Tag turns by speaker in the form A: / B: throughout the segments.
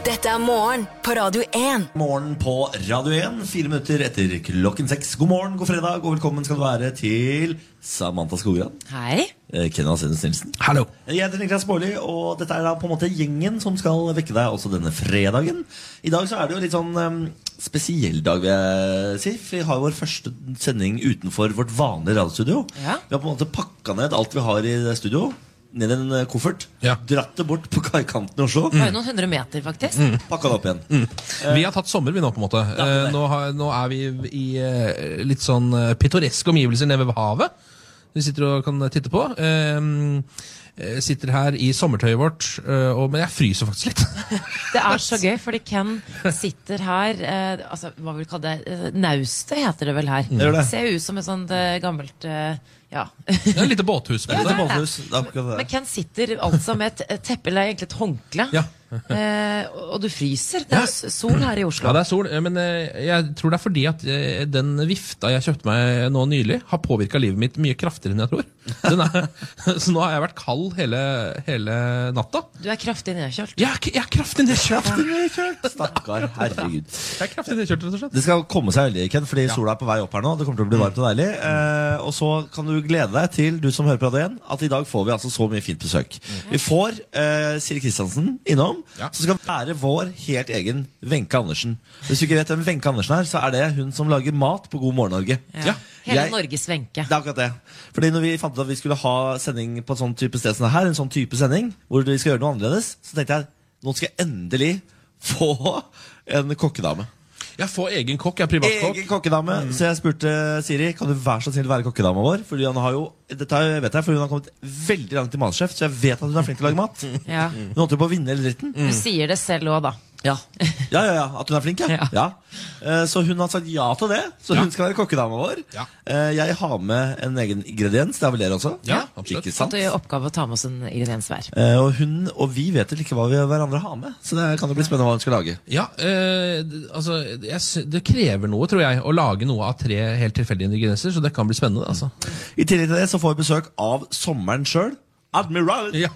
A: Dette er morgen på Radio 1.
B: Morgen på Radio 1, fire minutter etter klokken seks. God morgen, god fredag, og velkommen skal du være til Samantha Skogran.
C: Hei.
B: eh, Kenna Sennes Nilsen.
D: Hallo.
B: Jeg heter Niklas Baarli, og dette er da på en måte gjengen som skal vekke deg også denne fredagen. I dag så er det jo litt sånn em, spesiell dag, vil jeg si. for Vi har vår første sending utenfor vårt vanlige radiostudio.
C: Ja.
B: Vi har på en måte pakka ned alt vi har i det studio, ned i en eh, koffert,
E: Ja.
B: dratt det bort på kaikanten i Oslo,
C: Bare noen hundre meter, faktisk.
B: pakka det opp igjen.
E: Vi har tatt sommer, vi nå, på en måte. Eh, nå, har, nå er vi i eh, litt sånn eh, pittoreske omgivelser nede ved havet. Vi sitter og kan titte på. Ehm, eh, sitter her i sommertøyet vårt, eh, og, men jeg fryser faktisk litt.
C: Det er så gøy, fordi Ken sitter her eh, altså, Hva vil vi kalle det? Eh, Naustet heter det vel her.
B: gjør det.
C: Ser jo ut som et sånt eh, gammelt eh, Ja.
E: Det er Et lite båthus. på
B: Det
E: en måte.
B: er målhus, det er akkurat det.
C: Men Ken sitter altså med et et teppe, eller egentlig et håndkle,
E: Ja.
C: eh, og du fryser. Det er s- sol her i
E: Ja,
C: Oslo.
E: det er sol, eh, men eh, jeg tror det er fordi at eh, den vifta jeg kjøpte meg eh, nå nylig, har påvirka livet mitt mye kraftigere enn jeg tror. Den er, så nå har jeg vært kald hele, hele natta.
C: Du er kraftig nedkjølt.
E: Jeg er, jeg er kraftig nedkjørt!
B: Stakkar, herregud.
E: Jeg er kraftig nedkjørt, rett og slett.
B: Det skal komme seg veldig, Ken, fordi sola er på vei opp her nå. Det kommer til å bli varmt og deilig.
E: Mm.
B: Eh, og så kan du glede deg til, du som hører på Radio 1, at i dag får vi altså så mye fint besøk. Vi får eh, Siri Kristiansen innom,
E: Mm. Ja.
B: som skal være vår helt egen Wenche Andersen. Hvis du ikke vet hvem Wenche Andersen er, så er det hun som lager mat på God morgen Norge.
E: Ja.
C: Hele
B: Jeg-
C: Norges Wenche.
B: Det er akkurat det. Fordi når vi fant ut at vi skulle ha sending på en sånn type sted som det her, en sånn type sending, hvor vi skal gjøre noe annerledes, så tenkte jeg nå skal jeg endelig få en kokkedame.
E: Jeg får egen kokk, jeg er privatkokk.
B: Egen kokkedame.
E: Mm.
B: Så jeg spurte Siri kan du være så snill være kokkedama vår. Fordi han har jo, dette har jeg- vet jeg, for hun har kommet veldig langt i Masterchef, så jeg vet at hun er flink til å lage mat. Hun
C: Ja.
B: holdt jo på å vinne hele dritten.
C: Du sier det selv òg, da.
B: Ja. ja, ja, ja, At hun er flink, ja.
C: Ja.
B: ja. Eh, Så hun har sagt ja til det. Så hun skal være kokkedama vår.
E: Ja.
B: Eh, Jeg har med en egen ingrediens. Det har vel dere også?
E: Ja, absolutt.
B: Ikke
C: At
B: sant?
C: du gjør oppgave å ta med oss en ingrediens hver.
B: Eh, Og hun og vi vet vel ikke hva vi hverandre har med, så det kan jo bli spennende hva hun skal lage.
E: Ja, eh, d- altså, jeg, sy- det krever noe, tror jeg, å lage noe av tre helt tilfeldige ingredienser, så det kan bli spennende. altså.
B: I tillegg til det så får vi besøk av sommeren sjøl. Admiral,
E: Ja.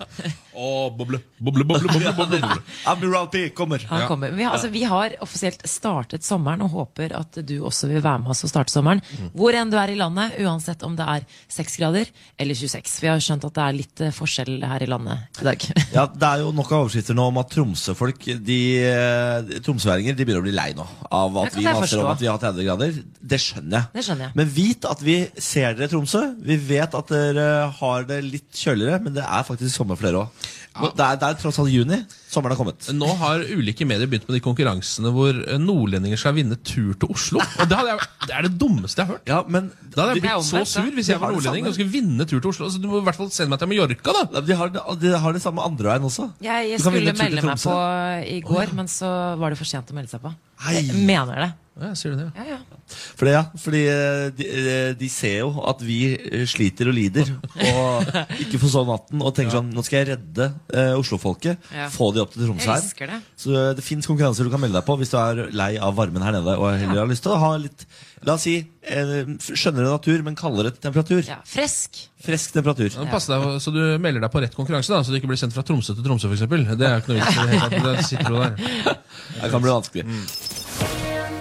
E: boble, boble, boble, boble, boble,
B: Admiral P kommer.
C: Han
E: Ja.
C: kommer. Men Vi har, altså, vi har offisielt startet sommeren og håper at du også vil være med oss og starte sommeren. Hvor enn du er i landet, uansett om det er 6 grader eller 26. Vi har skjønt at det er litt eh, forskjell her i landet i dag.
B: Ja, Det er jo nok av overskrifter nå om at tromsøfolk de, eh, Tromsøværinger de begynner å bli lei nå av
C: Det
B: at
C: kan
B: vi
C: jeg
B: maser om
C: forstå.
B: at vi har 30 grader. Det skjønner jeg.
C: Det skjønner jeg.
B: Men vit at vi ser dere, Tromsø. Vi vet at dere har det litt kjøligere, men det er faktisk sommer for dere òg. Det, er- det er tross alt juni. Sommeren har kommet.
E: Nå har ulike medier begynt med de konkurransene hvor eh, nordlendinger skal vinne tur til Oslo. Og Det, hadde jeg, det er det dummeste jeg har hørt.
B: Ja, men
E: Da hadde jeg
C: Det er
E: blitt så
C: omvendt, da.
E: sur hvis
B: Vi
E: jeg var
B: har det
E: nordlending
B: samme.
E: og skulle vinne tur til Oslo. Altså, du må i hvert fall sende meg til Mallorca, da!
B: de har, det- de har det samme andre veien også.
C: Jeg
B: Du kan vinne tur
C: skulle
B: til
C: melde meg
B: Tromsø.
C: på i går, men så var det for sent å melde seg på.
B: Hei.
C: Jeg mener det.
E: Ja, jeg sier det, ja.
C: Ja, ja.
B: Fordi, ja, fordi eh, de, eh, de ser jo at vi eh, sliter og lider og ikke får sove natten. Og tenker sånn Nå skal jeg redde eh, oslofolket.
C: Ja.
B: Få de opp til Tromsø
C: Jeg elsker
B: her.
C: det.
B: Så eh, det fins konkurranser du kan melde deg på hvis du er lei av varmen her nede og heller har lyst til å ha litt La oss si eh, skjønnere natur, men kaldere temperatur.
C: ja. Fresk.
B: Frisk temperatur.
E: Men Pass deg, så du melder deg på rett konkurranse, da, så du ikke blir sendt fra Tromsø til Tromsø, f.eks. Det er jo ikke noe vits i. det hele tatt. Da sitter du der.
B: Det kan bli vanskelig.
C: Mm.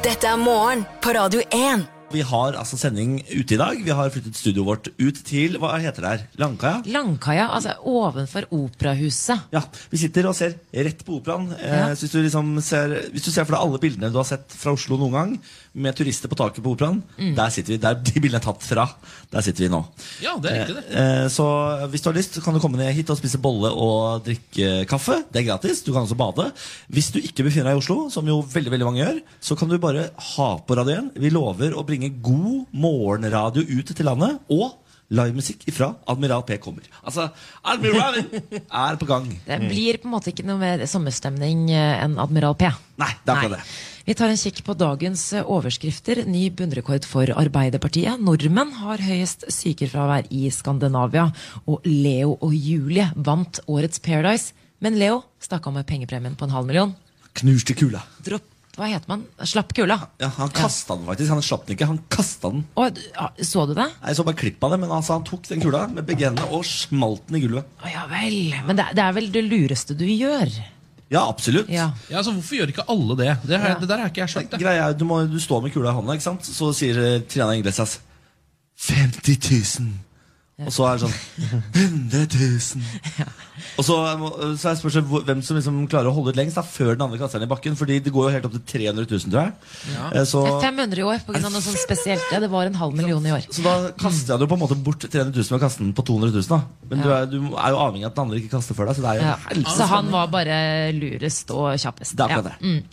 A: Dette er morgen på Radio 1.
B: Vi har altså sending ute i dag. Vi har flyttet studioet vårt ut til Hva heter det her? Langkaia?
C: Langkaia, altså ovenfor Operahuset.
B: Ja, Vi sitter og ser rett på operaen. Eh,
C: Ja.
B: så hvis, du liksom ser, hvis du ser for deg alle bildene du har sett fra Oslo noen gang, med turister på taket på operaen, der sitter vi, der de bildene er tatt fra. Der sitter vi nå.
E: Ja, det er riktig, det.
B: Eh, så hvis du har lyst, kan du komme ned hit og spise bolle og drikke kaffe. Det er gratis. Du kan også bade. Hvis du ikke befinner deg i Oslo, som jo veldig veldig mange gjør, så kan du bare ha på radioen. Vi lover å bringe god morgenradio ut til landet. og livemusikk ifra Admiral P kommer. Altså, Admiralen er på gang.
C: Det blir på en måte ikke noe mer sommerstemning eh, enn Admiral P.
B: Nei, det er akkurat det.
C: Vi tar en kikk på dagens eh, overskrifter. Ny bunnrekord for Arbeiderpartiet. Nordmenn har høyest sykefravær i Skandinavia. Og Leo og Julie vant årets Paradise. Men Leo stakk av med pengepremien på en halv million.
B: Knuste kula.
C: Dropp, hva heter man? Slapp kula.
B: Ja, han kasta den faktisk. Han slapp den ikke, han kasta den.
C: Og, ja, så du det?
B: Nei, Jeg så bare klipp av det, men altså, han tok den kula med begge hendene og smalt den i gulvet.
C: Å ja vel. Men det, det er vel det lureste du gjør.
B: Ja, absolutt.
C: Ja.
E: Ja, altså, Hvorfor gjør ikke alle det? Det, her, det der har ikke jeg skjønt. Det.
B: Greia er, du, må, du står med kula i hånda, ikke sant? Så sier eh, Triana Inglesias 50 000. Og så er det sånn 100 000. Og så, må- så er spørsmålet hvor- hvem som liksom klarer å holde ut lengst da, før den andre kaster den i bakken. Fordi det går jo helt opp til 300 000, tror jeg. Eh, Så,
C: Det er 500 i år pga. noe sånt spesielt. Ja, det var en halv million i år.
B: så da kaster jeg det jo på en måte bort 300 000 ved å kaste den på 200 000. Da. Men
C: Ja.
B: du, er, du er jo avhengig av at den andre ikke kaster før deg. Så det er jo
C: Ja.
B: en helvetes
C: Så han var bare lurest og kjappest.
B: Det er akkurat det.
C: Ja. Mm.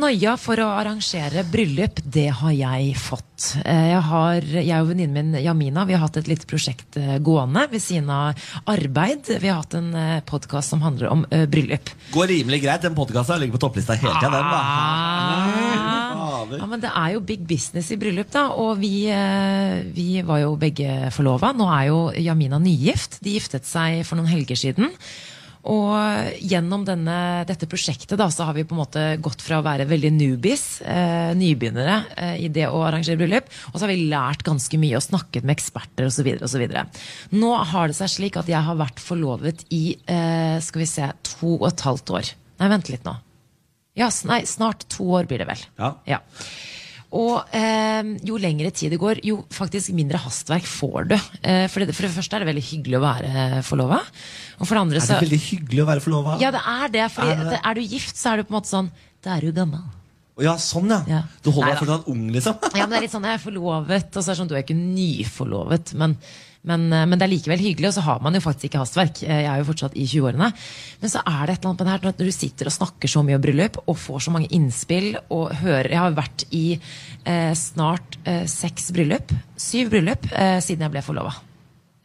C: Noia for å arrangere bryllup, det har jeg fått. Eh, Jeg, har, jeg og venninnen min Jamina vi har hatt et lite prosjekt eh, gående ved siden av arbeid. Vi har hatt en podkast som handler om eh, bryllup.
B: Går rimelig greit. Den podkasten ligger på topplista hele tida, den. da.
C: Ah. Ja, men det er jo big business i bryllup, da. Og vi, eh, vi var jo begge forlova. Nå er jo Jamina nygift. De giftet seg for noen helger siden. Og gjennom denne, dette prosjektet da, så har vi på en måte gått fra å være veldig newbies, eh, nybegynnere, eh, i det å arrangere bryllup, og så har vi lært ganske mye og snakket med eksperter osv. videre Nå har det seg slik at jeg har vært forlovet i eh, skal vi se, to og et halvt år. Nei, vent litt nå. Ja, s- nei, snart to år blir det vel.
B: Ja.
C: Og eh, jo lengre tid det går, jo faktisk mindre hastverk får du. Eh, for, det, for det første er det veldig hyggelig å være eh, forlova. Og for det andre
B: Er det
C: så
B: veldig hyggelig å være forlova?
C: Ja, det er det. Fordi
B: Er det det?
C: at er du gift, så er du på en måte sånn Da er du gammel.
B: Ja, sånn, ja.
C: Ja.
B: Du holder deg
C: Neida.
B: fortsatt ung, liksom.
C: Ja, men det er litt sånn, jeg er forlovet, og så er det sånn, du er ikke nyforlovet, men, men, eh, men det er likevel hyggelig, og så har man jo faktisk ikke hastverk. Eh, Jeg er jo fortsatt i 20-årene. Men så er det et eller annet med det her, når du sitter og snakker så mye om bryllup, og får så mange innspill, og hører, jeg har vært i eh, snart eh, seks bryllup, syv bryllup, eh, siden jeg ble forlovet.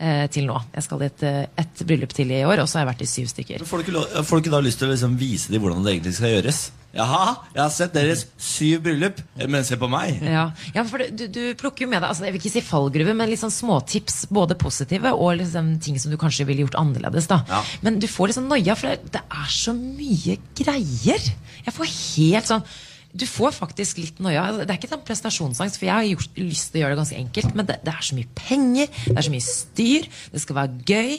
C: eh, Til nå. Jeg skal i et, eh, et bryllup til i år, og så har jeg vært i syv stykker.
B: Får du ikke, lo- får du ikke da lyst til å liksom vise dem hvordan det egentlig skal gjøres? Jaha, jeg har sett deres syv bryllup, eh, men se på meg.
C: Ja, ja for du, du- du plukker jo med deg altså, Jeg vil ikke si fallgruve, men litt sånn småtips. Både positive og liksom ting som du kanskje ville gjort annerledes. da
B: Ja.
C: Men du får liksom noia, for det, det er så mye greier. Jeg får helt sånn Du får faktisk litt noia. Altså, Det er ikke sånn prestasjonsangst, for jeg har gjort, lyst til å gjøre det ganske enkelt, men det, det er så mye penger, det er så mye styr, det skal være gøy.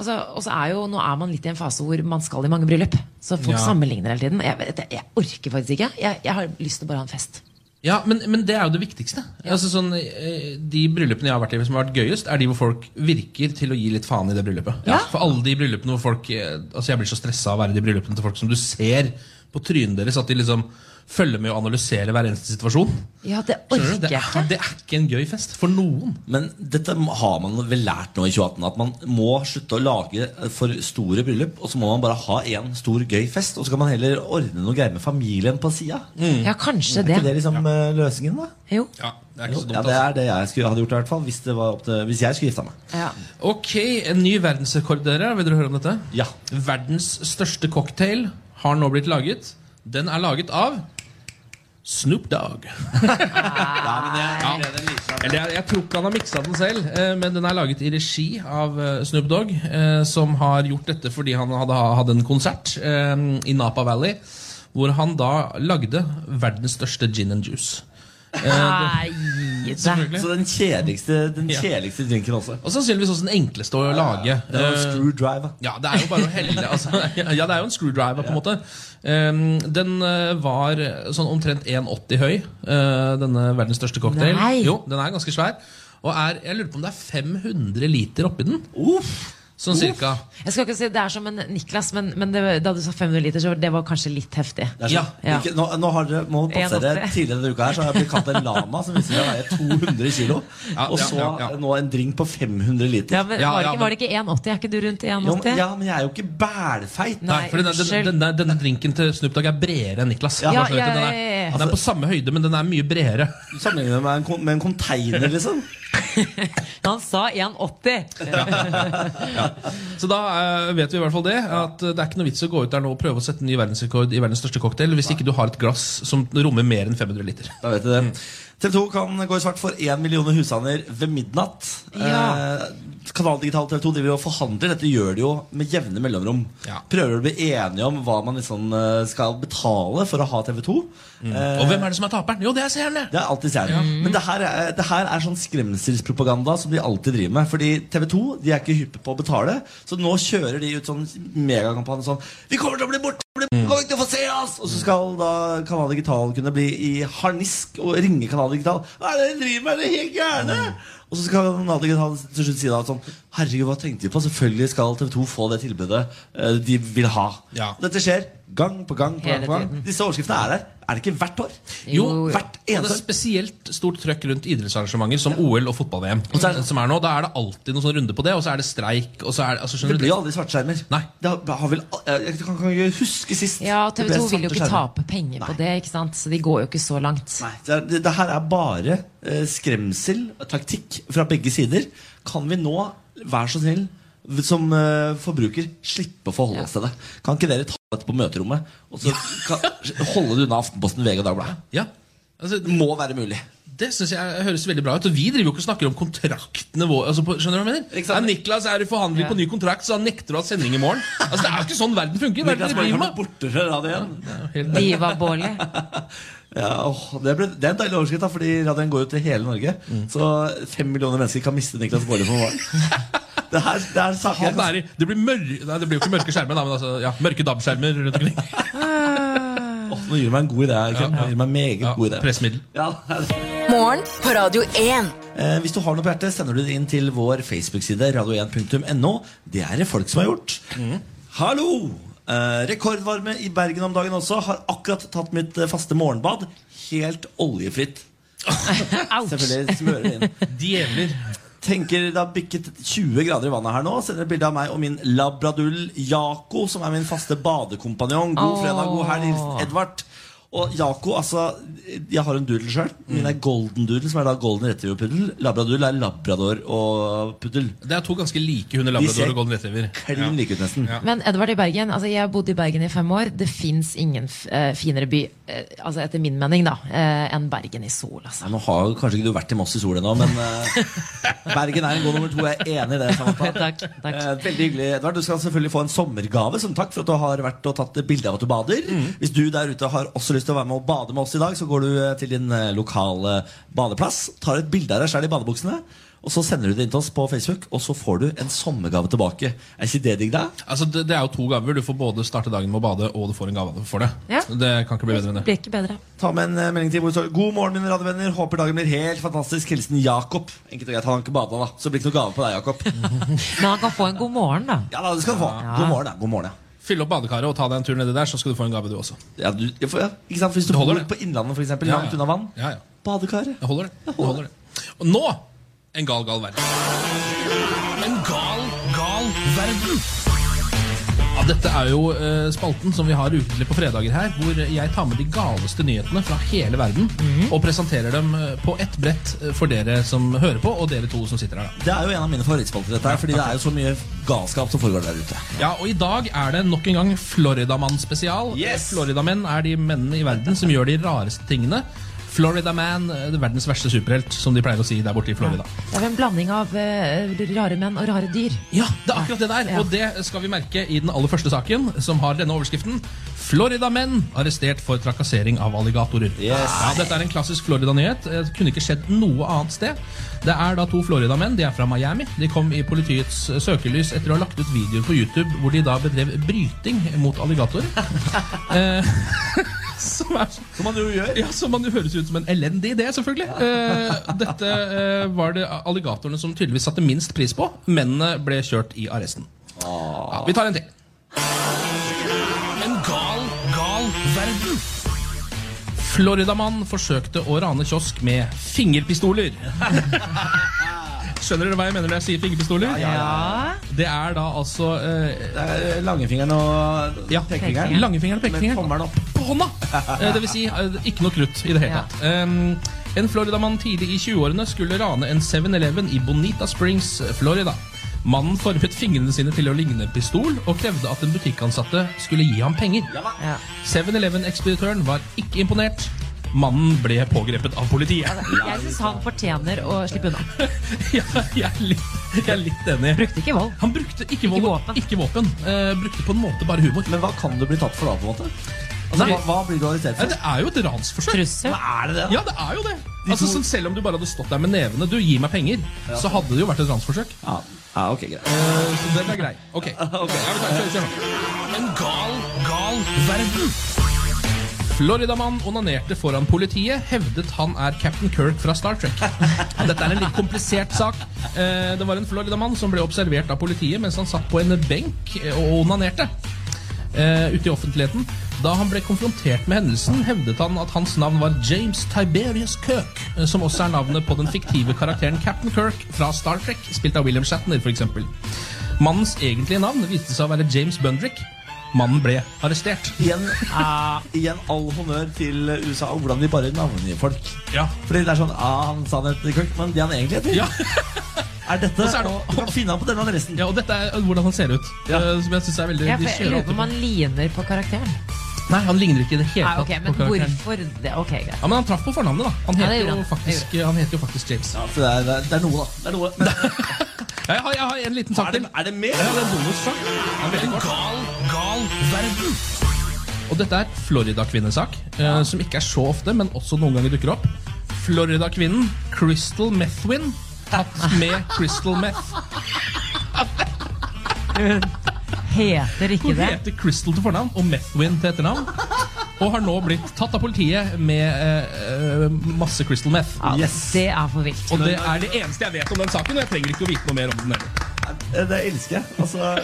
C: Altså, og så er jo, Nå er man litt i en fase hvor man skal i mange bryllup. Så folk
E: Ja.
C: sammenligner hele tiden. Jeg, vet det- jeg orker faktisk ikke. Jeg, jeg har lyst til å bare ha en fest.
E: Ja, men, men det er jo det viktigste. Altså, sånn, eh, de bryllupene jeg har vært i som har vært gøyest, er de hvor folk virker til å gi litt faen i det bryllupet.
C: Ja.
E: For alle de bryllupene hvor folk eh, Altså Jeg blir så stressa av å være i de bryllupene til folk som du ser på trynet deres at de liksom følger med og analyserer hver eneste situasjon.
C: Ja, det
E: Skjønner
C: orker
E: du? Det
C: jeg
E: er,
C: ikke.
E: det er ikke en gøy fest for noen.
B: Men dette har man vel lært nå i 2018, at man må slutte å lage eh, for store bryllup, og så må man bare ha én stor gøy fest, og så kan man heller ordne noe greier med familien på sida.
C: Mm. Ja,
B: Er
C: kanskje
B: ikke
C: det.
B: det liksom eh, løsningen, da?
C: Jo.
E: Ja, det er
B: Jo, ja,
E: altså.
B: det er det jeg skulle, hadde gjort i hvert fall, hvis, det var opp til, hvis jeg skulle gifta meg.
C: Ja.
E: Ok, en ny verdensrekord, dere. Vil dere høre om dette?
B: Ja.
E: Verdens største cocktail har nå blitt laget. Den er laget av Snoop Dogg. Ja. Eller jeg, jeg tror ikke han har miksa den selv, eh, men den er laget i regi av eh, Snoop Dogg, eh, som har gjort dette fordi han hadde, hadde en konsert eh, i Napa Valley, hvor han da lagde verdens største gin and juice.
C: Nei, det.
B: Så den kjedeligste, den
E: Ja.
B: kjedeligste drinken også.
E: Og sannsynligvis også sånn den enkleste å lage.
B: Det var
E: Eh,
B: screwdriver.
E: Ja, det er jo bare å helle altså, Ja, det er jo en screwdriver, på en måte. Um, den eh, var sånn omtrent 1,80 høy, eh, denne verdens største cocktail.
C: Nei.
E: Jo, den er ganske svær. Og er, jeg lurer på om det er 500 liter oppi den.
B: Uff.
E: Sånn cirka.
C: Jeg skal ikke si det er som en Niklas, men, men det, da du sa 500 liter, så var- det var kanskje litt heftig.
B: Det er
E: Ja,
B: sånn.
C: ja.
B: Ikke, nå, nå har dere, må dere passe dere.
C: 1,80.
B: Tidligere denne uka her Så har jeg blitt kalt en lama, som viser seg å veie 200 kilo.
E: Ja,
B: og
E: ja,
B: så
E: ja, ja.
B: nå en drink på 500 liter.
C: Ja, men
E: Ja,
C: var, det
E: ja,
C: ikke, var det ikke 1,80? Er ikke du rundt
B: Jo, men,
C: 1,80?
B: ja, men jeg er jo ikke bælfeit.
C: Nei,
E: for denne,
C: unnskyld.
E: denne, denne drinken til Snoop Dogg er bredere enn Niklas.
B: Ja,
E: Bare så du vet
C: ja,
E: det, den,
C: ja, ja,
E: er,
C: ja.
E: den er på samme høyde, men den er mye bredere.
B: Du Sammenligner meg med en kon- med en container, liksom.
C: Han sa 1,80!
E: Så da eh, vet vi i hvert fall det. At eh, det er ikke noe vits å gå ut der nå og prøve å sette en ny verdensrekord i verdens største cocktail hvis ikke du har et glass som rommer mer enn 500 liter.
B: Da vet du det.
E: Mm.
B: TV 2 kan gå i svart for én million husstander ved midnatt.
C: Ja.
B: Eh, Kanal Digital TV 2 driver jo og forhandler. Dette gjør de jo med jevne mellomrom.
E: Ja.
B: Prøver å bli enige om hva man liksom eh, skal betale for å ha TV 2.
E: Mm.
B: Eh,
E: Og hvem er det som er taperen? Jo, det er seerne!
B: Det er alltid stjernen. Men det her, er, det her er sånn skremselspropaganda som de alltid driver med. Fordi TV 2 de er ikke hyppe på å betale, så nå kjører de ut sånn megakampanje sånn Vi kommer til å bli borte! bli- Vi kommer ikke til å få se oss! Og så skal da Kanal Digital kunne bli i harnisk og ringe Kanal Digital. Hva er det dere driver med? Er dere helt gærne? Og så skal Kanal Digital til slutt si da sånn Herregud, hva tenkte vi på? Selvfølgelig skal TV 2 få det tilbudet eh, de vil ha.
E: Ja.
B: Dette skjer gang på gang. på gang,
C: Hele
B: på gang.
C: tiden.
B: Disse overskriftene er der. Er det ikke hvert år?
E: Jo,
B: Hvert
E: Og det
B: eneste
E: er spesielt stort trøkk rundt idrettsarrangementer som OL og fotball-VM. Som er nå, Da er det alltid noen sånn runde på det, og så er det streik. Og så er det, altså,
B: Det
E: skjønner du
B: blir jo aldri svartskjermer.
E: Nei.
B: Det har, har vel, al- jeg kan kan ikke huske sist.
C: Ja, TV 2 vil jo ikke
B: tape
C: tape penger på det, ikke sant? så de går jo ikke så langt.
B: Nei, det, er- det, det her er bare eh, skremsel og taktikk fra begge sider. Kan vi nå, vær så snill, v- som eh, forbruker, slippe å forholde oss til det? Kan ikke dere ta dette på møterommet og så kan, holde det unna Aftenposten, VG og Dagbladet?
E: Ja, altså,
B: Det må være mulig.
E: Det synes jeg høres veldig bra ut. Og vi driver jo ikke og snakker om kontraktene våre. Altså, på- skjønner du hva jeg mener?
B: Ikke sant?
E: Ja, Niklas er i forhandling på ny kontrakt, så han nekter å ha sending i morgen. Altså, Det er jo ikke sånn verden funker. Verden
B: Niklas Berg
E: driver
B: har
E: med.
B: blitt borte fra radioen.
E: Helt-
C: Diva-Bårli.
B: Ja, åh, det, ble, det er en deilig overskrift, da, fordi radioen går jo til hele Norge.
E: Mm.
B: Så fem millioner mennesker kan miste Niklas Baarli for morgenen. Det, her, det, er saker jeg
E: Han
B: kan
E: er i, det, blir mør Nei, det blir jo ikke mørke skjermer, da, men altså, ja, mørke DAB-skjermer rundt omkring.
B: Åh, Nå gir du meg en god idé. her, Kim. Nå gir du meg en meget
E: Ja,
B: god idé.
E: pressmiddel.
B: Ja, det er det.
A: Morgen på Radio 1.
B: Eh, hvis du har noe på hjertet, sender du det inn til vår Facebook-side, radio1.no. Det er det folk som har gjort.
E: Mm.
B: Hallo! Eh, rekordvarme i Bergen om dagen også. Har akkurat tatt mitt eh, faste morgenbad. Helt oljefritt.
C: Ouch!
B: Selvfølgelig smører det inn.
E: Djevler.
B: Tenker det har bikket 20 grader i vannet her nå. Sender et bilde av meg og min labradull Jako, som er min faste badekompanjong. God
C: Åh.
B: fredag, god helg, hilsen Edvard. Og Jako, altså Jeg har en doodle sjøl.
E: Mm.
B: Min er golden doodle, som er da golden retriever-puddel. Labradull er labrador og puddel.
E: Det er to ganske like hunder,
B: De ser
E: labrador og golden retriever. Ja.
B: Klin like ut, nesten.
E: Ja.
C: Men Edvard i Bergen, altså jeg har bodd i Bergen i fem år. Det fins ingen f eh, finere by, eh, altså etter min mening, da, eh, enn Bergen i sol. Altså.
B: Ja, Nå har jo kanskje ikke du vært i Moss i sol ennå, men eh, Bergen er en god nummer to. Jeg er enig i det. Samantha.
C: Takk, takk.
B: Eh, veldig hyggelig, Edvard. Du skal selvfølgelig få en sommergave som takk for at du har vært og tatt bilde av at du bader.
C: Mm.
B: Hvis du der ute har også lyst til å være med og bade med oss i dag, så går du eh, til din eh, lokale badeplass, tar et bilde av deg sjøl i badebuksene, og så sender du det inn til oss på Facebook, og så får du en sommergave tilbake. Er ikke det digg, da?
E: Altså, det, det er jo to gaver. Du får både starte dagen med å bade, og du får en gave for det.
C: Ja.
E: Det kan ikke bli bedre enn det.
C: Blir ikke bedre.
B: Ta med en eh, melding til hvor det står God morgen, mine radiovenner. Håper dagen blir helt fantastisk. Hilsen Jakob. Enkelt og greit, han har ikke bada, da. Så det blir ikke noe gave på deg, Jakob.
C: Men han kan få en god morgen, da.
B: Ja da, det skal du få. God morgen, da. God morgen, ja.
E: Fyll opp badekaret og ta deg en tur nedi der, så skal du få en gave, du også.
B: Ja, du, ja, for, ja, ikke sant? For Hvis du
E: Det holder, det.
B: bor på Innlandet, for eksempel,
E: Ja,
B: langt
E: ja.
B: unna vann.
E: Ja, ja.
B: Badekaret.
E: Jeg holder det. Jeg holder det. Og nå en gal, gal verden. En gal, gal verden. Ja, dette er jo eh, spalten som vi har ukentlig på fredager her, hvor jeg tar med de galeste nyhetene fra hele verden
B: Mhm.
E: og presenterer dem eh, på ett brett eh, for dere som hører på, og dere to som sitter her. da.
B: Det er jo en av mine favorittspalter, dette her, fordi det er jo så mye galskap som foregår der ute.
E: Ja, og I dag er det nok en gang Floridamann spesial.
B: Yes!
E: Floridamenn er de mennene i verden som gjør de rareste tingene. Floridaman, eh, verdens verste superhelt, som de pleier å si der borte i Florida.
C: Det er jo en blanding av eh, rare menn og rare dyr.
E: Ja, det er akkurat det der.
C: Ja.
E: Og det skal vi merke i den aller første saken, som har denne overskriften. Florida-menn arrestert for trakassering av alligatorer. Ja, dette er en klassisk Florida-nyhet. Eh, Det kunne ikke skjedd noe annet sted. Det er da to Florida-menn. De er fra Miami. De kom i politiets eh, søkelys etter å ha lagt ut videoer på YouTube hvor de da bedrev bryting mot alligatorer. Eh, som er
B: Som man jo gjør.
E: ja, som man jo høres ut som en elendig idé, selvfølgelig. Eh, dette eh, var det alligatorene som tydeligvis satte minst pris på. Mennene ble kjørt i arresten. Ja, vi tar en til. En gal, gal verden. Floridamann forsøkte å rane kiosk med fingerpistoler. Skjønner dere hva jeg mener når jeg sier fingerpistoler?
C: Ja,
E: Det er da altså eh,
B: Det er langfingeren og
E: ja.
B: pekefingeren.
E: Langfingeren og pekefingeren.
B: Med tommelen opp.
E: På hånda! Eh, Det vil si eh, ikke noe krutt i det hele
C: Ja.
E: tatt. Um, En Floridamann tidlig i 20-årene skulle rane en 7-Eleven i Bonita Springs, Florida. Mannen formet fingrene sine til å ligne en pistol og krevde at den butikkansatte skulle gi ham penger.
C: Ja.
E: 7-Eleven-ekspeditøren var ikke imponert. Mannen ble pågrepet av politiet.
C: Jeg syns han fortjener å slippe unna.
E: Ja, jeg er litt, jeg er litt enig.
C: Brukte ikke vold.
E: Han brukte ikke vold, ikke våpen.
C: våpen.
E: Eh, brukte på en måte bare humor.
B: Men hva kan du bli tatt for da, på en måte? Altså,
E: Nei.
B: hva, hva blir du arrestert
E: Nei,
B: for?
E: Eh, det er jo et ransforsøk.
C: Trussel.
B: Er det det?
E: Ja, det er jo det.
B: De
E: Altså,
B: to-
E: sånn, selv om du bare hadde stått der med nevene Du, gi meg penger, så hadde det jo vært et ransforsøk.
B: Ja. ja, ok, greit.
E: Eh, så den er grei. Ok. Ja, men takk, kjør, kjør nå. En gal, gal verden. Floridamann onanerte foran politiet, hevdet han er Captain Kirk fra Star Trek. Dette er en litt komplisert sak. Eh, Det var en floridamann som ble observert av politiet mens han satt på en benk eh, og onanerte. eh, Ute i offentligheten. Da han ble konfrontert med hendelsen, hevdet han at hans navn var James Tiberius Kirk, eh, som også er navnet på den fiktive karakteren Captain Kirk fra Star Trek, spilt av William Shatner f.eks. Mannens egentlige navn viste seg å være James Bundrick. Mannen ble arrestert.
B: Igjen, eh, igjen all honnør til USA og hvordan de bare navngir folk.
E: Ja,
B: Fordi det er sånn ah, han sa det til Kirk, men det han egentlig heter,
E: Ja.
B: er dette.
E: Og så er det-
B: og Du kan finne ham på denne adressen.
E: Ja, og dette er hvordan han ser ut.
B: Ja.
E: eh, Som jeg synes er veldig
C: Ja, for
E: de
C: jeg
E: kjører
C: lurer
E: alltid
C: på om han ligner på karakteren.
E: på- Nei, han ligner ikke i det hele
C: Nei,
E: tatt
C: ok,
E: på
C: Men
E: karakteren.
C: hvorfor det? Ok, greit.
E: Ja, men han traff på fornavnet, da. Han
C: Ja,
E: heter,
C: det gjorde
E: jo,
C: han.
E: faktisk, han heter jo faktisk James.
B: Ja, så det, er, det er noe, da. Det er noe. Men,
E: Ja, jeg, har, jeg har en liten sak
B: er,
E: til.
B: det, er det mer?
E: Ja, det er en bonussak. Den er veldig kort. Og dette er Florida-kvinnesak, eh, som ikke er så ofte, men også noen ganger dukker opp. Florida-kvinnen Crystal Methwin tatt med Crystal Meth.
C: Heter ikke
E: Hun
C: det?
E: heter Crystal til fornavn og Methwin til etternavn. Og har nå blitt tatt av politiet med eh, eh, masse Crystal Meth.
C: Ja,
B: Yes.
C: Det er for vilt.
E: Og det er det eneste jeg vet om den saken, og jeg trenger ikke å vite noe mer om den. heller.
B: Eh, Det elsker jeg. Altså,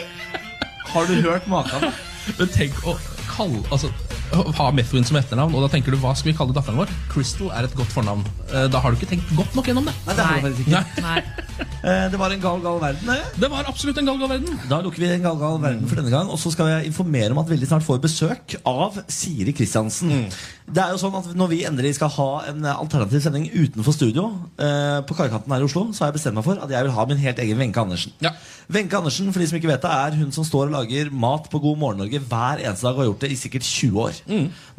B: har du hørt maken?
E: Men tenk å kalle, altså, å ha Methuen som etternavn, og da tenker du hva skal vi kalle datteren vår? Crystal er et godt fornavn. Eh, Da har du ikke tenkt godt nok gjennom det.
B: Nei, det har du
C: Nei.
B: faktisk ikke.
C: Nei.
B: Eh, Det var en gal, gal verden. det.
E: Det var absolutt en gal gal verden.
B: Da lukker vi en gal, gal verden for denne gang. Og så skal jeg informere om at veldig snart får besøk av Siri Kristiansen. Det er jo sånn at Når vi endelig skal ha en eh, alternativ sending utenfor studio, eh, på Kaikanten her i Oslo, så har jeg bestemt meg for at jeg vil ha min helt egen Wenche Andersen.
E: Ja.
B: Wenche Andersen for de som ikke vet det, er hun som står og lager mat på God morgen Norge hver eneste dag og har gjort det i sikkert 20 år.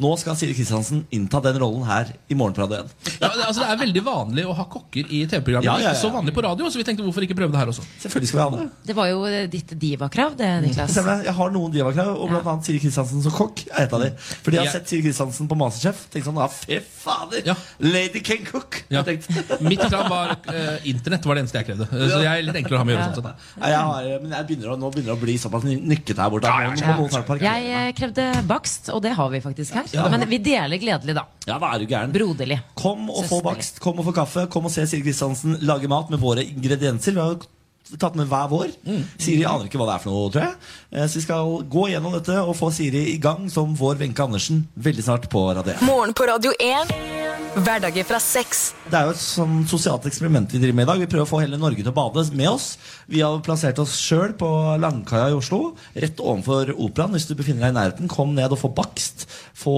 B: Nå skal Siri Kristiansen innta den rollen her i Morgenpradio 1.
E: Ja, det- altså, det er veldig vanlig å ha kokker i TV-programmet.
B: Ja, ja, ja.
E: Ikke så vanlig på radio, så vi tenkte hvorfor ikke prøve det her også.
B: Selvfølgelig skal vi ha det.
C: Det var jo eh, ditt divakrav, det, Niklas.
B: Stemmer det. Jeg har noen divakrav, og blant annet Siri Kristiansen som kokk er et av de.
C: Mm.
B: Fordi jeg har
E: Ja.
B: sett Siri Kristiansen på Masterchef. Tenkt sånn, ah, fy fader,
E: Ja.
B: Lady can cook!
E: Ja.
B: Jeg tenkte.
E: Mitt krav var eh, internett var det eneste jeg krevde. Eh, så jeg er litt enklere å ha med å gjøre. sånn sett.
B: Nei, jeg har, men jeg begynner å, nå begynner det å bli såpass ny- nykket her borte. Nå må
C: Ja.
B: noen snart parkere.
C: Jeg eh, krevde bakst, og det har vi faktisk her. Men vi deler gledelig, da.
B: Ja, da er du gæren.
C: Broderlig.
B: Kom og få
C: Søsterlig.
B: bakst, kom og få kaffe, kom og se Siri Kristiansen lage mat med våre ingredienser. Vi har jo tatt med hver vår.
C: Mm.
B: Siri aner ikke hva det er for noe, tror jeg. Eh, Så vi skal gå gjennom dette og få Siri i gang som vår Wenche Andersen veldig snart på Radio 1.
A: Morgen på Radio 1. Hverdager fra seks.
B: Det er jo et sånn sosialt eksperiment vi driver med i dag. Vi prøver å få hele Norge til å bade med oss. Vi har plassert oss sjøl på Langkaia i Oslo, rett ovenfor Operaen. Hvis du befinner deg i nærheten, kom ned og få bakst, få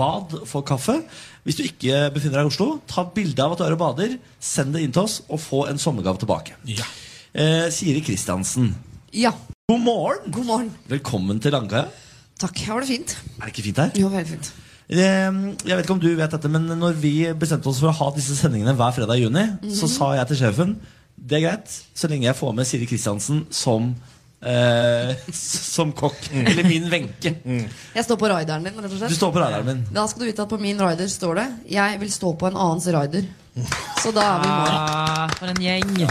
B: bad, få kaffe. Hvis du ikke befinner deg i Oslo, ta bilde av at du er og bader, send det inn til oss, og få en sommergave tilbake.
E: Ja.
B: Eh, Siri Kristiansen,
F: Ja,
B: god morgen!
F: god morgen.
B: Velkommen til Langkaia.
F: Takk. Har du det fint?
B: Er det ikke fint her?
F: Jo, veldig fint.
B: Eh, Jeg vet ikke om du vet dette, men når vi bestemte oss for å ha disse sendingene hver fredag i juni, så sa jeg til sjefen det er greit, så lenge jeg får med Siri Kristiansen som eh, s- som kokk. Eller min Wenche.
F: Jeg står på rideren din, rett og
B: Du
F: slett.
B: står på radaren min.
F: Da skal du vite at på min rider står det 'Jeg vil stå på en annens rider'. Så da er vi i mål.
C: Ah, for en gjeng.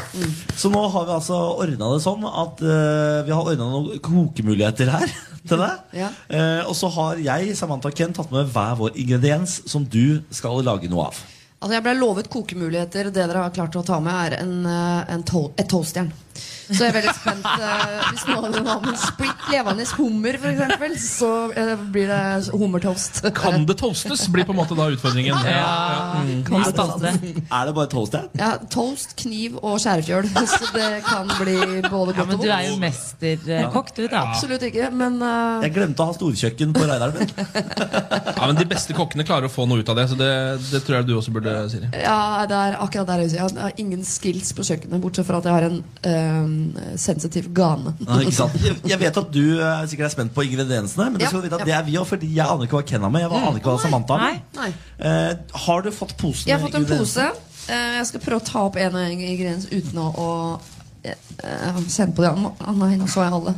B: Så nå har vi altså ordna det sånn at eh, vi har ordna noen kokemuligheter her til deg.
F: Ja.
B: Eh, og så har jeg Samantha og Ken tatt med hver vår ingrediens som du skal lage noe av.
F: Altså, jeg ble lovet kokemuligheter. Det dere har klart å ta med, er en, eh, en to et toastjern. Så jeg er veldig spent. eh, hvis noen har med en splitt levende hummer, f.eks., så eh, blir det hummertoast.
E: Kan det toastes, blir på en måte da utfordringen.
C: Ja, kan du starte?
B: Er det bare toast, jeg?
F: Ja, toast, kniv og skjærefjøl. Så det kan bli både godt
C: Ja, men
F: og
C: du er jo
F: vondt.
C: mesterkokk, du, da.
F: Absolutt ikke, men eh,
B: Jeg glemte å ha storkjøkken på Reidaren min.
E: Ja, men De beste kokkene klarer å få noe ut av det, så det, det tror jeg du også burde, Siri.
F: ja, det er akkurat der jeg er. Jeg har ingen skills på kjøkkenet, bortsett fra at jeg har en eh, sensitiv gane.
B: Ja, ikke sant? Jeg, jeg vet at du eh, sikkert er spent på ingrediensene, men du
F: Ja,
B: skal vite at
F: ja. Mm.
B: det er vi òg, fordi jeg aner ikke hva Ken har med. Jeg aner ikke hva Samantha har med.
F: Nei.
B: Eh, har du fått posen?
F: Jeg har fått en
B: med
F: pose. Eh, Jeg skal prøve å ta opp en og en ingrediens uten å, å eh, eh, kjenne på de andre. Å nei, nå så jeg alle.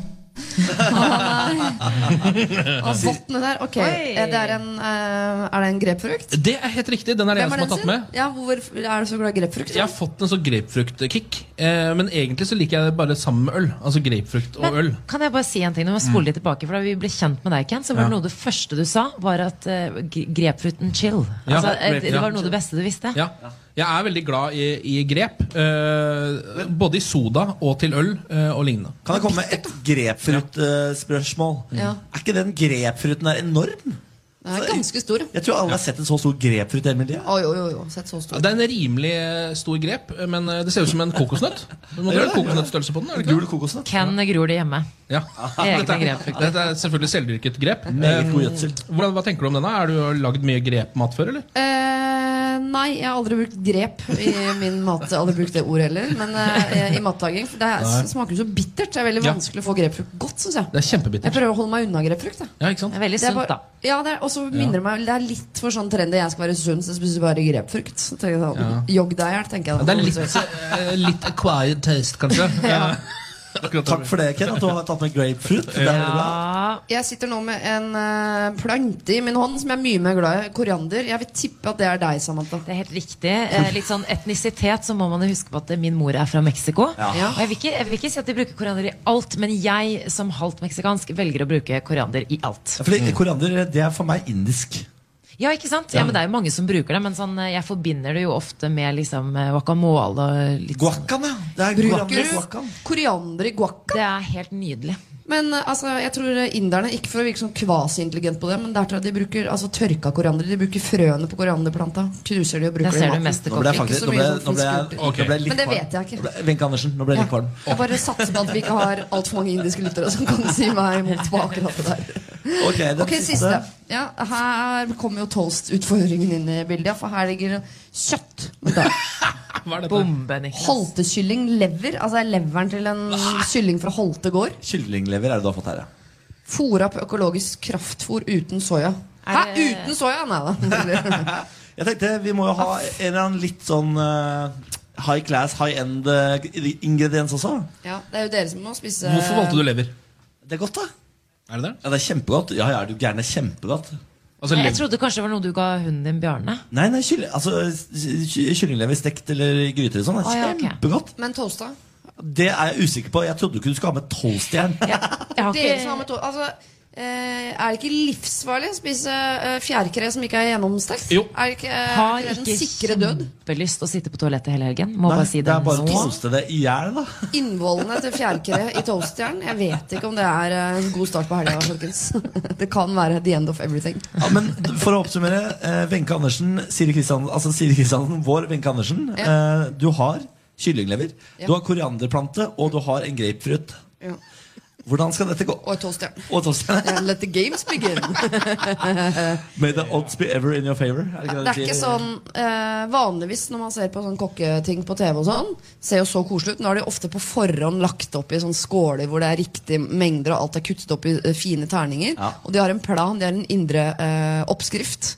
F: Å nei. Å, vottene der. Ok,
C: Oi.
F: eh, det er, en, eh, er det en grepfrukt?
E: Det er helt riktig. Den er det jeg
F: Hvem
E: som har
F: er den
E: tatt
F: sin?
E: med.
F: Ja, hvorfor er du så glad i grepfrukt?
E: Jeg har fått en sånn grapefruktkick, eh, men egentlig så liker jeg det bare sammen med øl. Altså grapefrukt og øl.
C: Men, kan jeg bare si en ting? Nå må jeg spole litt tilbake, for Da vi ble kjent med deg, Ken, så var det noe av det første du sa, var at uh, grepfruten chill.
E: Ja,
C: Altså, eh, det- det
E: grapefruit,
C: var noe av det beste du visste.
E: Ja. Jeg er veldig glad i, i grep. Eh, både i soda og til øl eh, og lignende.
B: Kan jeg komme med et grepfruttspørsmål?
F: Ja.
B: Er ikke den grepfruten der enorm?
F: Den er ganske stor.
B: Jeg tror alle har sett en så stor grepfrutt i hele mitt liv.
F: Oi, oi, oi, oi. Sett så
E: Ja,
F: stor.
E: Det er en rimelig eh, stor grep, eh, men eh, det ser ut som en kokosnøtt. Du må
B: Ja,
E: ha
B: ja.
E: kokosnøttstørrelse på den, er det ikke
B: Gul
E: det?
B: kokosnøtt.
C: Ken gror det hjemme.
E: Ja.
C: Egne
E: Dette, er,
C: grepfrukter.
E: dette er selvfølgelig selvdyrket grep.
B: Meget god
E: Eh,
B: gjødsel.
E: Hvordan, hva tenker du om denne? Er du lagd mye grepmat før, eller?
F: Eh, nei, jeg har aldri brukt grep i min mat. Jeg har aldri brukt det ordet heller. Men eh, i matlaging. For det er, smaker jo så bittert. Det er veldig
E: Ja.
F: vanskelig å få grepfrukt godt, syns jeg.
E: Det er
F: Jeg
E: kjempebittert.
F: prøver å holde meg unna grepfrukt. Jeg.
E: Ja, ikke sant?
C: Det er veldig
F: Det er
C: sunt,
F: bare-
C: da.
F: Ja, det er, og så minner det meg Det er litt for sånn trendy. Jeg skal være sunn, så jeg spiser bare grepfrukt. Så tenker jeg sånn, Jogg deg i hjel, tenker jeg da.
E: Det er litt, eh, litt acquired taste, kanskje.
F: Ja.
E: Akkurat
B: Takk for det, Ken, at du har tatt med grapefruit. Det er veldig bra.
C: Ja,
E: sånn.
F: Jeg sitter nå med en eh, plante i min hånd som jeg er mye mer glad i. Koriander. Jeg vil tippe at det er deg, Samantha.
C: det er helt riktig. Eh, litt sånn etnisitet, så må man jo huske på at eh, min mor er fra Mexico.
F: Ja.
C: Og jeg vil, ikke, jeg vil ikke si at de bruker koriander i alt, men jeg som halvt meksikansk velger å bruke koriander i alt.
B: Fordi koriander, det er for meg indisk.
C: Ja, ikke sant? Ja, men Det er jo mange som bruker det, men sånn, eh, jeg forbinder det jo ofte med liksom, eh, guacamole. Og litt sånn.
B: Guacan, ja. Det er
F: Bruker
B: koriander i
F: du
B: guacan.
F: koriander i guac?
C: Det er helt nydelig.
F: Men eh, altså, jeg tror eh, inderne, ikke for å virke sånn kvasi-intelligent på det, men der tror jeg de bruker altså, tørka koriander. De bruker frøene på korianderplanta. Knuser de og
C: Der
F: bruker
B: Nå ble
C: ser du
F: det
B: jeg
C: mesterkokken.
F: Ikke
B: faktisk
F: så
B: nå
F: mye
B: ble,
F: sånn
B: nå ble, jeg-
F: fisk
B: nå ble jeg litt
F: Men det
B: kvalm.
F: vet jeg ikke.
B: Nå ble- Wenche Andersen, nå ble jeg litt kvalm.
F: Jeg bare satser på at vi ikke har altfor mange indiske lyttere som kan si meg imot på akkurat det der.
B: Ok, den
F: Ok, siste. Ja, her kommer jo toast-utfordringen inn i bildet, ja, for her ligger det kjøtt.
E: Hva er dette?
C: Bombe, Niklas.
F: Holtekylling, lever. Altså det er leveren til en kylling fra Holte gård.
B: Kyllinglever er det du har fått her, ja.
F: Fôra på økologisk kraftfôr uten soya. Hæ,
C: Er det-
F: uten soya? Nei da.
B: Jeg tenkte vi må jo ha en eller annen litt sånn eh, high class, high end eh, ingrediens også.
F: Ja, det er jo dere som må spise
E: Hvorfor valgte du lever?
B: Det er godt, da.
E: Er det det?
B: Ja, det er kjempegodt. Ja, ja, er du gæren, det er kjempegodt.
E: Altså,
C: Jeg
E: lever-
C: trodde kanskje det var noe du ga hunden din, Bjarne.
B: Nei, nei, kyll altså, ky- kyllinglever stekt eller i gryter og sånn. Det
C: Å,
B: er
C: ja, ok.
B: kjempegodt.
F: Men toasta?
B: Det er jeg usikker på. Jeg trodde ikke du skulle ha med tolvstjern.
C: Jeg har
F: Dere som
C: ikke...
F: har med to altså, eh, er det ikke livsfarlig å spise eh, fjærkre som ikke er gjennomstekt?
E: Jo.
F: Er det ikke, eh,
C: Har
F: er det
C: ikke
F: den sikre død?
C: kjempelyst å sitte på toalettet hele helgen. Må
B: Nei,
C: bare si
B: det
C: det.
B: er bare å
C: nå.
B: toaste det i hjel, da.
F: Innvollene til fjærkre i toastjern? Jeg vet ikke om det er eh, en god start på helga, folkens. Det kan være the end of everything.
B: Ja, men for å oppsummere, eh, Wenche Andersen, Siri Kristiansen, altså Siri Kristiansen, vår Wenche Andersen, eh, du har kyllinglever,
F: Ja.
B: du har korianderplante, og du har en grapefruit.
F: Ja.
B: Hvordan skal dette gå?
F: Og et toastjern.
B: Og toastjern.
F: Yeah, Let the games begin.
B: May the odds be ever in your favor. Er det,
F: Det er ikke sånn eh, Vanligvis når man ser på sånn kokketing på TV og sånn, ser jo så koselig ut. Nå har de ofte på forhånd lagt opp i sånn skåler hvor det er riktige mengder, og alt er kuttet opp i eh, fine terninger.
B: Ja.
F: Og de har en plan, de har en indre eh, oppskrift.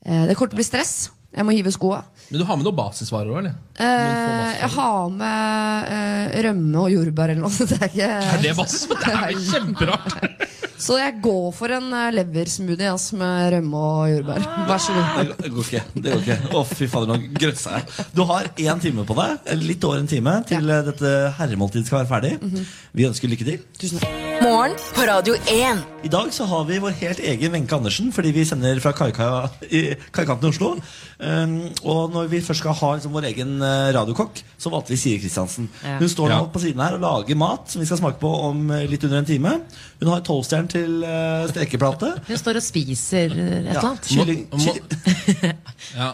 F: Eh, det kommer til å bli stress. Jeg må hive skoa.
E: Men du har med noen basisvarer òg, eller?
F: Eh, jeg har med eh, rømme og jordbær eller noe. Det er
E: Er
F: ikke
E: det basis? Det er jo kjemperart!
F: Så jeg går for en eh, leversmoothie altså, med rømme og jordbær.
E: Ah,
F: Vær så god.
B: Det går ikke. det går ikke Å, fy fader, nå grøssa jeg. Du har én time på deg, eller litt over en time, til eh, dette herremåltidet skal være ferdig. Vi ønsker lykke til.
F: Mhm. Tusen takk.
A: Morgen på Radio 1.
B: I dag så har vi vår helt egen Wenche Andersen, fordi vi sender fra kaika i kaikanten i Oslo. Um, og når vi først skal ha liksom, vår egen eh, radiokokk, så valgte vi Siri Kristiansen.
C: Ja.
B: Hun står nå
E: Ja.
B: på siden her og lager mat som vi skal smake på om eh, litt under en time. Hun har toastjern til eh, stekeplate.
C: Hun står og spiser eh, et eller annet.
B: kylling,
E: Må- må-
B: kylling,
E: Ja.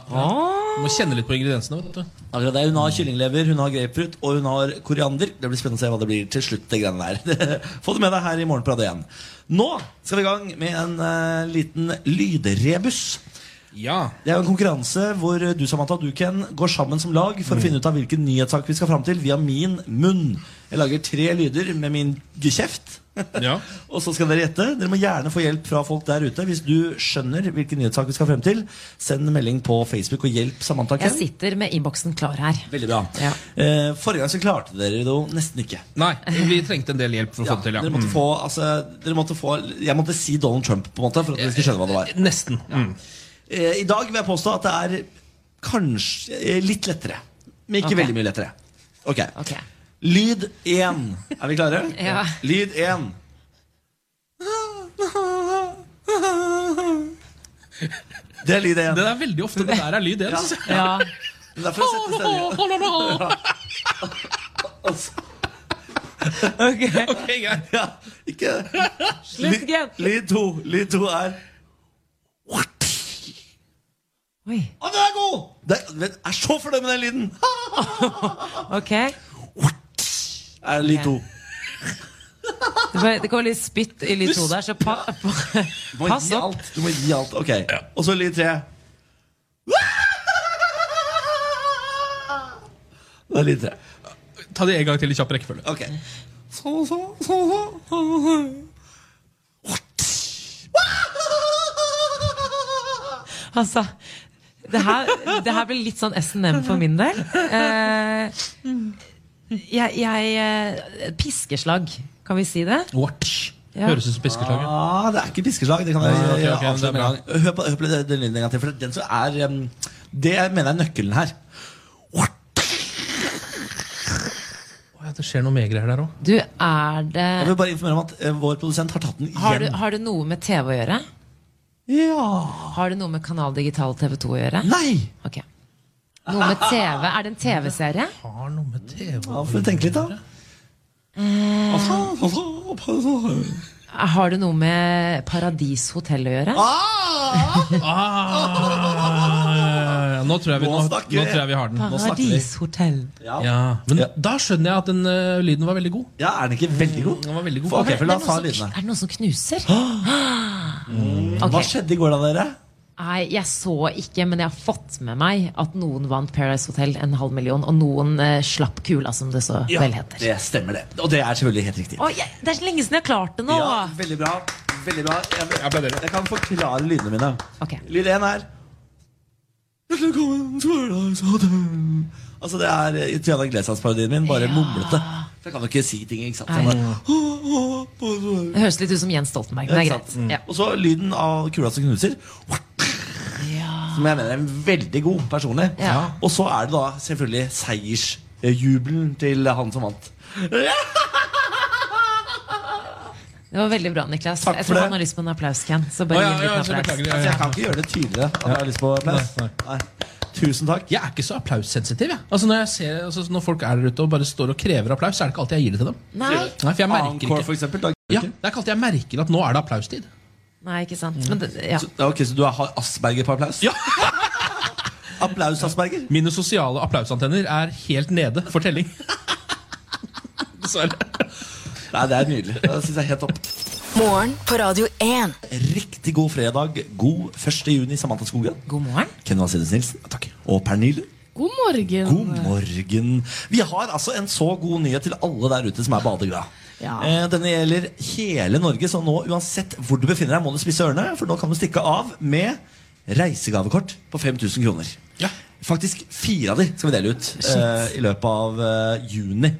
E: Må kjenne litt på ingrediensene. vet du
B: Akkurat det, Hun har kyllinglever, hun har grapefruit og hun har koriander. Det blir spennende å se hva det blir til slutt. det greiene der Få det med deg her i morgen på Radio 1. Nå skal vi i gang med en eh, liten lydrebus.
E: Ja
B: Det er jo en konkurranse hvor eh, du Samantha og du Ken går sammen som lag
E: Mm.
B: for å finne ut av hvilken nyhetssak vi skal fram til via min munn. Jeg lager tre lyder med min kjeft.
E: Ja.
B: Og så skal dere gjette. Dere må gjerne få hjelp fra folk der ute. Hvis du skjønner hvilken nyhetssak vi skal frem til, send en melding på Facebook og hjelp Samantha og
C: Jeg
B: Ken.
C: sitter med innboksen klar her.
B: Veldig bra.
C: Ja.
B: Eh, forrige gang så klarte dere det jo nesten ikke.
E: Nei, vi trengte en del hjelp for å
B: Ja,
E: få det til. Ja.
B: dere måtte
E: Mm.
B: få, altså, dere måtte få Jeg måtte si Donald Trump på en måte for at dere skulle skjønne hva det var.
E: Nesten. Mm.
B: Eh, I dag vil jeg påstå at det er kanskje eh, litt lettere. Men ikke
C: Ok.
B: veldig mye lettere. Ok.
C: Ok.
B: Lyd én. Er vi klare?
C: Ja.
B: Lyd én. Det er lyd
E: Det
B: én.
E: er veldig ofte det der er lyd igjen. synes jeg.
C: Ja.
B: Det er for å sette stemningen.
E: Ok, greit.
B: Ja, ikke
C: Slutt,
B: Lyd,
C: Ken.
B: lyd to. Lyd to er
C: Oi.
B: Å, den er god! Det er, jeg er så fornøyd med den lyden.
C: Ok.
B: Er lyd to.
C: Det var- Det går litt spytt i lyd to der, så pa pa
B: Du må
C: pass
B: gi
C: opp.
B: alt. Du må gi alt. Ok. Og så lyd tre. Det er lyd tre.
E: Ta det en gang til i kjapp rekkefølge.
B: Ok. Så, så, så, så.
C: Altså, det her, det her blir litt sånn S&M for min del. Eh, jeg jeg eh, Piskeslag, kan vi si det?
E: Watch.
C: Ja.
E: Høres ut som piskeslag. ja.
B: Ah, det er ikke piskeslag. Det kan jeg
E: Ah, ok, ok, men det er
B: jeg avsløre med
E: bra.
B: en gang. Hør på, hør på den den lyden en gang til. For den som er um, Det jeg mener er nøkkelen her.
E: Å, ja, Det skjer noe mer greier der òg.
C: Du, er
B: Jeg
C: det
B: vil bare informere om at eh, vår produsent har tatt den igjen.
C: har, du har det noe med TV å gjøre?
B: Ja
C: Har det noe med Kanal Digital TV 2 å gjøre?
B: Nei!
C: Ok. Noe med TV? Er det en TV-serie?
E: Har noe med TV
B: Ja, får vi tenke litt, da.
C: Har det noe med Paradis hotell å gjøre?
B: Ah!
E: ah, Nå tror jeg vi, nå,
B: Nå
E: nå
B: snakker vi.
E: tror jeg vi har den.
B: nå snakker vi.
C: Paradis hotell.
B: Ja.
E: Ja, Men
B: Ja.
E: da skjønner jeg at den eh, lyden var veldig god.
B: ja, er den ikke veldig god?
E: Den var veldig god.
B: Ok, for la oss ha
C: er det noen som-
B: lydene.
C: er det noen som knuser?
B: Hva
C: Ok.
B: skjedde i går da, dere?
C: Nei, jeg så ikke, men jeg har fått med meg at noen vant Paradise Hotel en halv million, og noen eh, slapp kula, som det så vel heter.
B: det stemmer det. Og det er selvfølgelig helt riktig.
C: Å, jeg, det er så lenge siden jeg har klart det nå!
B: Ja, veldig bra. Veldig bra. Jeg,
E: Jeg applauderer.
B: jeg kan forklare lydene mine.
C: Ok.
B: Lyd én er Hjertelig velkommen til Hverdagshotell. Altså, det er eh, Triana Glesas-parodien min, bare mumlete. For jeg kan jo ikke si ting, ikke sant. Sånn,
C: Det høres litt ut som Jens Stoltenberg, men det er
B: Ikke
C: greit.
B: sant? Mm.
C: Ja.
B: Og så lyden av kula som knuser. Som jeg mener er veldig god personlig.
C: Ja.
B: Og så er det da selvfølgelig seiersjubelen til han som vant.
C: Det var veldig bra, Niklas.
B: Takk
C: jeg
B: for
C: tror
B: det.
C: han har lyst på en applaus, Ken. Så
E: Å,
C: bare
E: ja,
C: gi en
E: ja,
C: liten
E: så
C: applaus.
E: beklager jeg.
B: Altså, jeg kan ikke gjøre det tydeligere at jeg har lyst på applaus.
E: Nei,
B: Nei. Tusen takk.
E: Jeg er ikke så applaussensitiv. Jeg. Altså, når, jeg ser, altså, når folk er der ute og bare står og krever applaus, så er det ikke alltid jeg gir det til dem.
C: Nei,
E: Nei, for jeg merker
B: Encore,
E: ikke
B: for eksempel. Da.
E: ja, Det er ikke alltid jeg merker at nå er det applaustid.
C: Nei ikke sant. Men det, ja.
B: Så, ja, ok, så du har asperger på applaus?
E: Ja.
B: Applaus-asperger?
E: Mine sosiale applausantenner er helt nede for telling. Dessverre.
B: Nei, det er nydelig. Det synes jeg er helt topp.
A: Morgen på Radio 1.
B: Riktig god fredag. God 1. juni, Samantha Skogen.
C: God morgen.
B: Ken Vasenius Nilsen. Og Pernille.
G: God morgen.
B: God morgen. Vi har altså en så god nyhet til alle der ute som er badeglade.
G: Ja.
B: Eh, Denne gjelder hele Norge, så nå uansett hvor du befinner deg, må du spisse ørene, for nå kan du stikke av med reisegavekort på 5000 kroner.
E: Ja.
B: Faktisk fire av de skal vi dele ut eh, i løpet av eh, juni.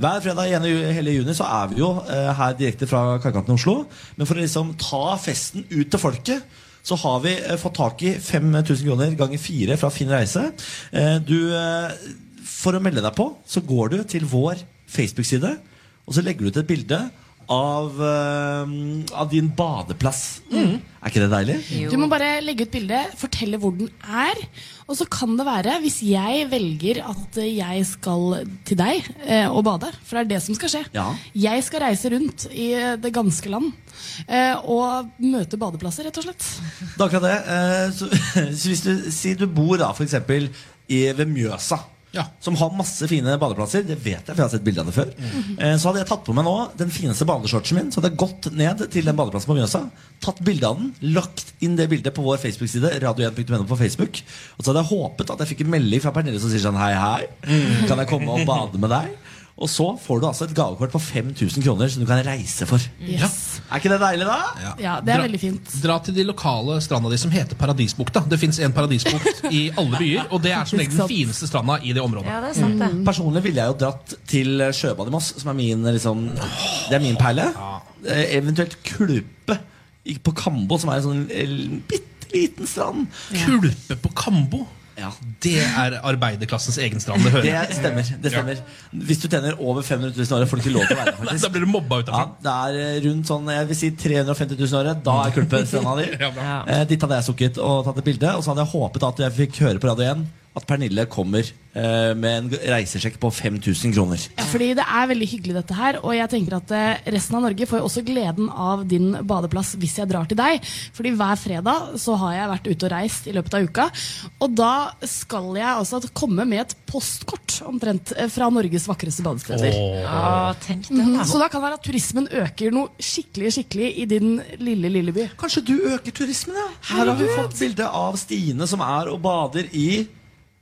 B: Hver fredag i ene ju- hele juni så er vi jo eh, her direkte fra Karkanten i Oslo. Men for å liksom ta festen ut til folket, så har vi eh, fått tak i 5000 kroner ganger fire fra Finn Reise. Eh, du, eh, for å melde deg på, så går du til vår Facebook-side, og så legger du ut et bilde av, eh, av din badeplass. Er ikke det deilig?
F: Mm.
H: Du må bare legge ut bildet, fortelle hvor den er. Og så kan det være, hvis jeg velger at jeg skal til deg eh, og bade, for det er det som skal skje
B: Ja.
H: Jeg skal reise rundt i det ganske land eh, og møte badeplasser, rett og slett.
B: Det er akkurat det. Eh, Så, så hvis du sier du bor da, for eksempel i, ved Mjøsa,
E: Ja.
B: som har masse fine badeplasser, det vet jeg, for jeg har sett bilde av det før,
H: Mhm.
B: Eh, så hadde jeg tatt på meg nå den fineste badeshortsen min, så hadde jeg gått ned til den badeplassen på Mjøsa, tatt bilde av den, lagt inn det bildet på vår Facebook-side, radio1.no på Facebook, og så hadde jeg håpet at jeg fikk en melding fra Pernille som sier sånn hei, hei,
H: Mm.
B: kan jeg komme og bade med deg? Og så får du altså et gavekort på 5000 kroner som du kan reise for.
H: Yes.
B: Er ikke det deilig, da?
H: Ja, det er
E: Dra-
H: veldig fint.
E: Dra til de lokale stranda di som heter Paradisbukta. Det fins en paradisbukt i alle byer, og det er som regel den fineste stranda i det området.
C: Ja, det er sant,
E: Mm.
C: det.
B: Personlig ville jeg jo dratt til eh, Sjøbad i Moss, som er min, eh, liksom, det er min perle. Eh, Eventuelt Klupe i- på Kambo, som er en sånn eh, bitte liten strand.
E: Kulpe på Kambo.
B: Ja,
E: Det er arbeiderklassens egen strand. Det hører jeg.
B: det stemmer. det stemmer Hvis du tjener over 500 000 i året, får du ikke lov til å være der.
E: Da
B: faktisk
E: blir du mobba
B: ja,
E: utenfor.
B: Det er eh, rundt sånn, jeg vil si 350 000 i året. Da er Kulpe stranda di.
E: Ja, bra.
C: Ja.
B: Eh, Dit hadde jeg sukket og tatt et bilde. Og så hadde jeg håpet at jeg fikk høre på radio igjen at Pernille kommer eh, med en reisesjekk på 5000 kroner.
H: Ja, fordi det er veldig hyggelig dette her, og jeg tenker at eh, resten av Norge får jo også gleden av din badeplass hvis jeg drar til deg. Fordi hver fredag så har jeg vært ute og reist i løpet av uka, og da skal jeg altså at- komme med et postkort omtrent eh, fra Norges vakreste badesteder.
C: Ja, tenk det, da.
H: Så da kan det være at turismen øker noe skikkelig skikkelig i din lille, lille by.
B: Kanskje du øker turismen, ja? Her har vi fått bilde av Stine som er og bader i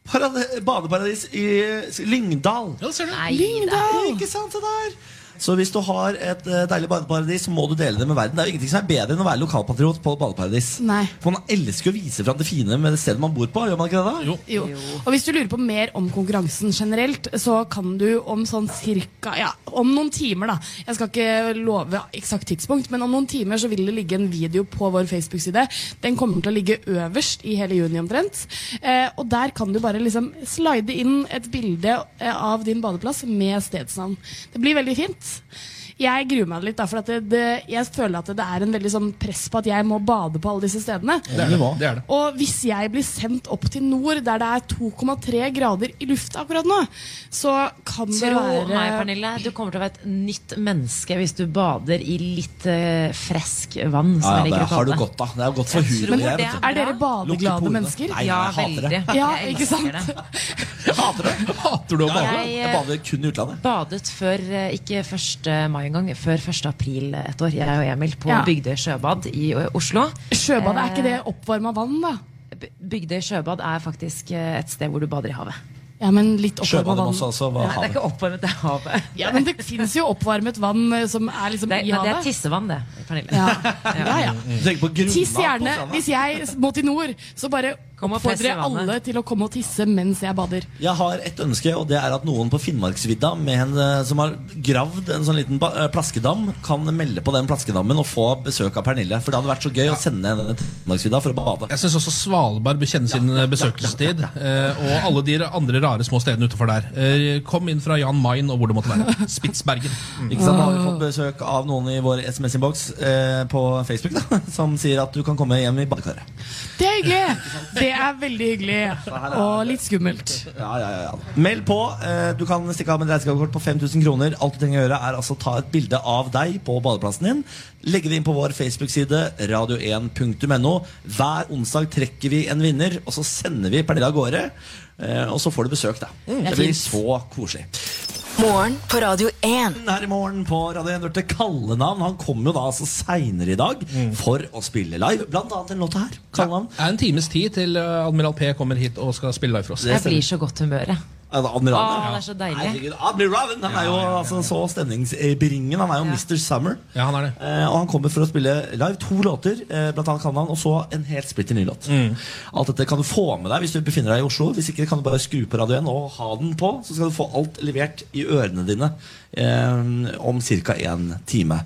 B: parade- badeparadis i s- Lyngdal.
E: Ja, det ser du.
H: Lyngdal!
B: Ikke sant det der? Så hvis du har et eh, deilig badeparadis, så må du dele det med verden. Det er jo ingenting som er bedre enn å være lokalpatriot på badeparadis.
H: Nei.
B: For man elsker å vise fram det fine med det stedet man bor på. gjør man ikke det da?
E: Jo.
H: Jo. Og hvis du lurer på mer om konkurransen generelt, så kan du om sånn cirka Ja, om noen timer, da. Jeg skal ikke love eksakt tidspunkt, men om noen timer så vil det ligge en video på vår Facebook-side. Den kommer til å ligge øverst i hele juni omtrent. Eh, og der kan du bare liksom slide inn et bilde eh, av din badeplass med stedsnavn. Det blir veldig fint. Jeg gruer meg litt, da, for at det, det, jeg føler at det er en veldig sånn press på at jeg må bade på alle disse stedene.
E: Det er det. det, er det.
H: Og hvis jeg blir sendt opp til nord, der det er 2,3 grader i lufta akkurat nå, så kan det
C: Tro
H: være
C: meg, Pernille, du kommer til å være et nytt menneske hvis du bader i litt eh, fresk vann.
B: Ja,
C: Som
B: ja,
C: ligger
B: det
C: i
B: har du
C: kranene.
B: godt av. Det er jo godt for
C: Jeg
B: huet.
C: tror
B: det,
C: det
B: vet du.
H: Er dere
B: Lukter
H: badeglade
B: porene.
H: mennesker?
B: Nei,
C: Ja,
B: jeg hater
C: veldig.
B: det.
H: Ja,
C: Jeg
H: ikke sant?
C: elsker det.
B: Jeg hater det.
E: Hater du å bade?
C: Jeg,
B: Jeg bader kun i utlandet.
C: Badet før, eh, ikke 1. mai engang, før 1. april et år, jeg og Emil, på
H: Ja.
C: Bygdøy sjøbad i eh, Oslo.
H: Sjøbadet, er ikke det oppvarma vann, da?
C: B- Bygdøy sjøbad er faktisk eh, et sted hvor du bader i havet.
H: Ja, men litt oppvarma
B: Sjøbadet
H: vann.
B: også, altså. Hva
C: Nei, det er
B: havet.
C: ikke oppvarmet, det er havet.
H: Ja, men det fins jo oppvarmet vann eh, som er liksom
C: Det er,
H: i
C: men det er
H: havet.
C: tissevann, det, Pernille.
H: Ja. ja, ja.
B: Tenk mm. på grunna
H: Tiss
B: på
H: gjerne.
B: stranda.
H: Hvis jeg må til nord, så bare
C: Kom og fess
H: oppfordrer
C: i
H: jeg
C: vannet.
H: alle til å komme og tisse mens jeg bader.
B: Jeg har et ønske, og det er at noen på Finnmarksvidda med en, eh, som har gravd en sånn liten ba- eh, plaskedam, kan melde på den plaskedammen og få besøk av Pernille. For det hadde vært så gøy å sende henne til Finnmarksvidda for å bade.
E: Jeg syns også Svalbard bør kjenne sin besøkelsestid. eh, Og alle de andre rare små stedene utenfor der. Eh, Kom inn fra Jan Mayen og hvor det måtte være. Spitsbergen. Mm.
B: Ikke sant? Da har vi fått besøk av noen i vår SMS-innboks eh, på Facebook da, som sier at du kan komme hjem i badekaret.
H: Det er hyggelig! Det er veldig hyggelig. Og litt skummelt.
B: Ja, ja, ja, ja. Meld på. eh, Du kan stikke av med et reisegavekort på 5000 kroner. Alt du trenger å gjøre, er altså ta et bilde av deg på badeplassen din. Legge det inn på vår Facebook-side, radio1.no. Hver onsdag trekker vi en vinner, og så sender vi Pernille av gårde. eh, Og så får du besøk, da. Det blir så koselig.
A: Morgen på Radio 1.
B: Her i morgen på Radio 1 hørte kallenavn. Han kommer jo da altså seinere i dag for å spille live. Blant annet den låta her. Kallenavn.
E: Det er en times tid til eh, Admiral P kommer hit og skal spille live for oss.
B: Det
C: Jeg
B: stemmer.
C: blir så godt humøret.
B: Er det Admiral,
C: Å,
B: ja?
C: det er så deilig.
B: Herregud, Admiral Raven han er jo altså, så stemningsbringende. Han er jo Mr. Summer.
E: Ja, han er det.
B: Eh, og han kommer for å spille live to låter, eh, blant annet Kandan, og så en helt splitter ny låt. Alt dette kan du få med deg hvis du befinner deg i Oslo. Hvis ikke kan du bare skru på radioen og ha den på, så skal du få alt levert i ørene dine eh, om ca. en time.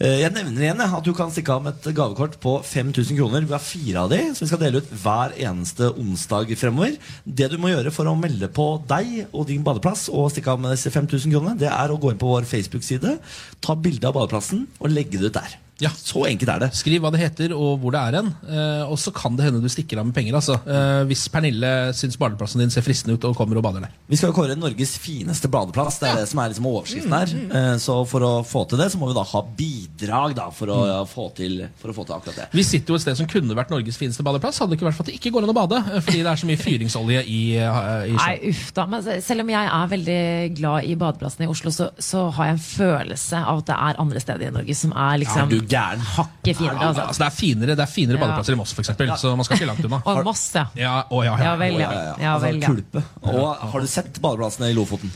B: Eh, jeg nevner igjen jeg, at du kan stikke av med et gavekort på 5000 kroner. Vi har fire av de, som vi skal dele ut hver eneste onsdag fremover. Det du må gjøre for å melde på deg, deg og din badeplass og stikke av med disse 5000 kronene, det er å gå inn på vår Facebook-side, ta bilde av badeplassen og legge det ut der.
E: Ja.
B: Så enkelt er det.
E: Skriv hva det heter og hvor det er hen. Eh, og så kan det hende du stikker av med penger. Altså. Eh, hvis Pernille syns badeplassen din ser fristende ut og kommer og bader der.
B: Vi skal jo kåre Norges fineste badeplass. Det er det som er liksom overskriften her. Eh, Så for å få til det, så må vi da ha bidrag da, for, å, ja, få til, for å få til akkurat det.
E: Vi sitter jo et sted som kunne vært Norges fineste badeplass. Hadde det ikke vært for at det ikke går an å bade, eh, fordi det er så mye fyringsolje i, eh, i sjøen.
C: Nei, uff da. Men se- selv om jeg er veldig glad i badeplassene i Oslo, så, så har jeg en følelse av at det er andre steder i Norge som er
B: Er
C: liksom
B: du gæren?
C: hakket finere. Altså.
E: Altså, det er finere, det er finere badeplasser i Moss, f.eks., så man skal ikke langt unna.
C: Og Moss, ja.
E: Ja, å, ja,
C: Ja
E: ja.
C: vel, ja. ja,
B: altså,
C: vel, ja.
B: Kulpe. Og har du sett badeplassene i Lofoten?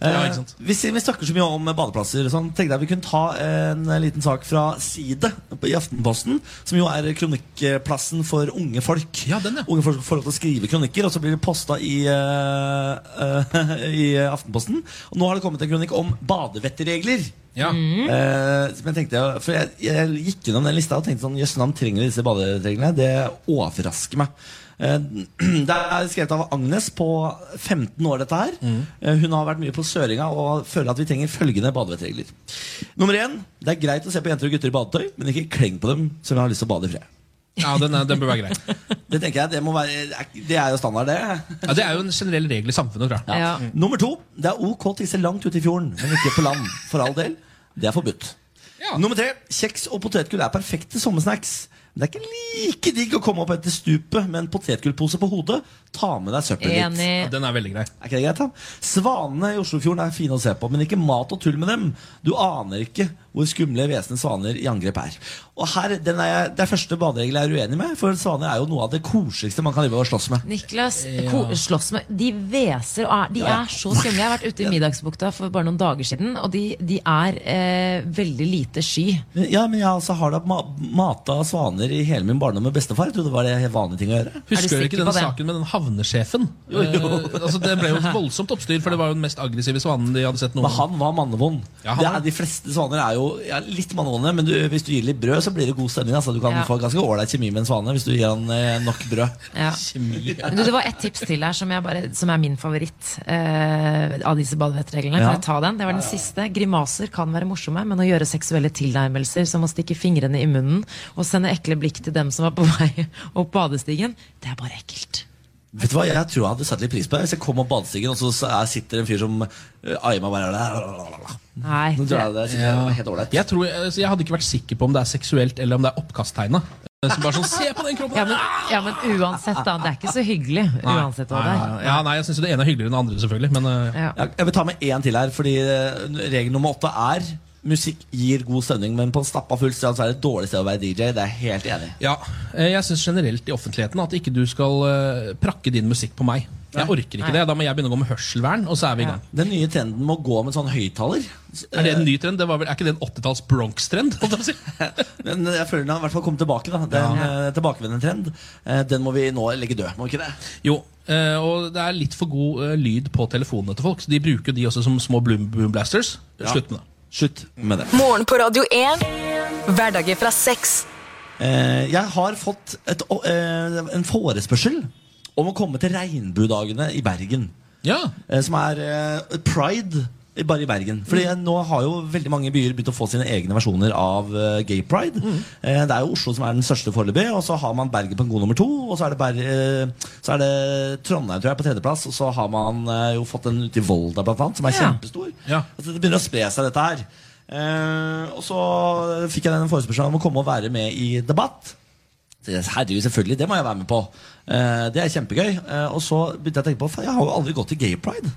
E: Ja, ikke sant.
B: Eh, vi, sier- vi snakker så mye om badeplasser. og Sånn. Tenkte jeg vi kunne ta en eh, liten sak fra Side på- i Aftenposten, som jo er kronikkplassen for unge folk.
E: Ja, den, ja.
B: Unge folk får lov til å skrive kronikker, og så blir det posta i, eh, eh, i Aftenposten. Og nå har det kommet en kronikk om badevettregler.
E: Ja.
B: Eh, som jeg tenkte, for jeg, jeg gikk gjennom den lista og tenkte sånn Jøss, navn trenger vi disse badereglene. Det overrasker meg. Eh, Det er skrevet av Agnes på 15 år, dette her. Eh, Hun har vært mye på Søringa og føler at vi trenger følgende badevettregler. Nummer én, det er greit å se på jenter og gutter i badetøy, men ikke kleng på dem så de har lyst til å bade i fred.
E: ja den, er, den bør være grei.
B: Det tenker jeg, det, må være, det er jo standard, det.
E: Ja, det er jo en generell regel i samfunnet, tror jeg.
C: Ja.
B: Mm. Nummer to, det er ok å tisse langt ute i fjorden, men ikke på land. For all del. Det er forbudt.
E: Ja.
B: Nummer tre, kjeks og potetgull er perfekte sommersnacks. Men det er ikke like digg å komme opp etter stupet med en potetgullpose på hodet. Ta med deg søppelet ditt.
E: Ja,
C: Enig.
E: den er veldig grei.
B: Er ikke det greit, da? Svanene i Oslofjorden er fine å se på, men ikke mat og tull med dem. Du aner ikke hvor skumle vesne svaner i angrep er. Og her, den er jeg, Det er første baderegel jeg er uenig med, for svaner er jo noe av det koseligste man kan drive og slåss med.
C: Niklas, ko, slåss med De hveser og er De er så skumle. Jeg har vært ute i Middagsbukta for bare noen dager siden, og de, de er eh, veldig lite sky.
B: Men- Ja, men jeg altså har da ma mata svaner i hele min barndom med bestefar. Jeg trodde det var det helt vanlige ting å gjøre.
E: Husker
C: sikker
E: dere ikke denne
C: på det?
E: saken med den havnesjefen? Eh, altså, det ble jo et voldsomt oppstyr, for det var jo den mest aggressive svanen de hadde sett noen
B: Men han var mannevond.
E: Ja, han
B: det
E: var-
B: er, de fleste svaner er jo ja, litt mannevonde, men du, hvis du gir litt brød, så blir det god stemning. Altså, du kan
C: Ja.
B: få ganske ålreit kjemi med en svane hvis du gir han eh, nok brød.
C: Ja.
E: kjemi.
C: Men du, det var ett tips til her som, jeg bare, som er min favoritt eh, av disse badevettreglene. Kan
B: Ja.
C: jeg ta den? Det var den siste. Grimaser kan være morsomme, men å gjøre seksuelle tilnærmelser som å stikke fingrene i munnen og sende ekle blikk til dem som var på vei opp badestigen, det er bare ekkelt.
B: Vet du hva, Jeg tror jeg hadde satt litt pris på det hvis jeg kom opp badestigen, og så s- er- sitter en fyr som uh, aier meg bare der.
C: Nei.
B: Nå tror jeg det, synes jeg det var helt ålreit.
E: Jeg, tror, altså, jeg hadde ikke vært sikker på om det er seksuelt eller om det er oppkasttegna. Som bare sånn, se på den kroppen!
C: Ja men, ja, men uansett, da. Det er ikke så hyggelig. Uansett hva det
E: Nei,
C: er.
E: nei, ja, nei, jeg syns det ene er hyggeligere enn det andre, selvfølgelig. Men eh,
C: Ja.
B: Jeg, jeg vil ta med én til her, fordi eh, regel nummer åtte er musikk gir god stemning, men på stappa fullt sted så er det et dårlig sted å være DJ. Det er jeg helt enig i.
E: ja, eh, jeg syns generelt i offentligheten at ikke du skal eh, prakke din musikk på meg. Jeg orker ikke det. Da må jeg begynne å gå med hørselvern, og så er vi i gang.
B: Den nye trenden med å gå med sånn høyttaler.
E: Er det en ny trend? Det var vel, er ikke det en 80-talls Bronx-trend? holdt jeg på å si?
B: Eh, Men jeg føler den har i hvert fall kommet tilbake. da Det er en eh, tilbakevendende trend. Eh, Den må vi nå legge død. Må vi ikke det?
E: Jo, eh, og det er litt for god eh, lyd på telefonene til folk. Så de bruker de også som små bloom, boom blasters. Slutt med det.
B: Slutt med det.
A: Morgen på Radio 1. Hverdager fra seks.
B: Eh, Jeg har fått et, å- eh, en forespørsel om å komme til Regnbuedagene i Bergen.
E: Ja,
B: eh, Som er eh, pride i- bare i Bergen. Fordi eh, nå har jo veldig mange byer begynt å få sine egne versjoner av eh, gay pride. Eh, Det er jo Oslo som er den største foreløpig, og så har man Bergen på en god nummer to. Og så er det, Ber eh, så er det Trondheim tror jeg, på tredjeplass, og så har man eh, jo fått en ute i Volda, blant annet, som er
C: Ja.
B: kjempestor.
E: Ja.
B: Altså, det begynner å spre seg, dette her. Eh, og så fikk jeg den forespørselen om å komme og være med i debatt. Så jeg sa, Herregud, selvfølgelig, det må jeg være med på. Eh, det er kjempegøy. Eh, og så begynte jeg å tenke på faen, jeg har jo aldri gått til gay pride.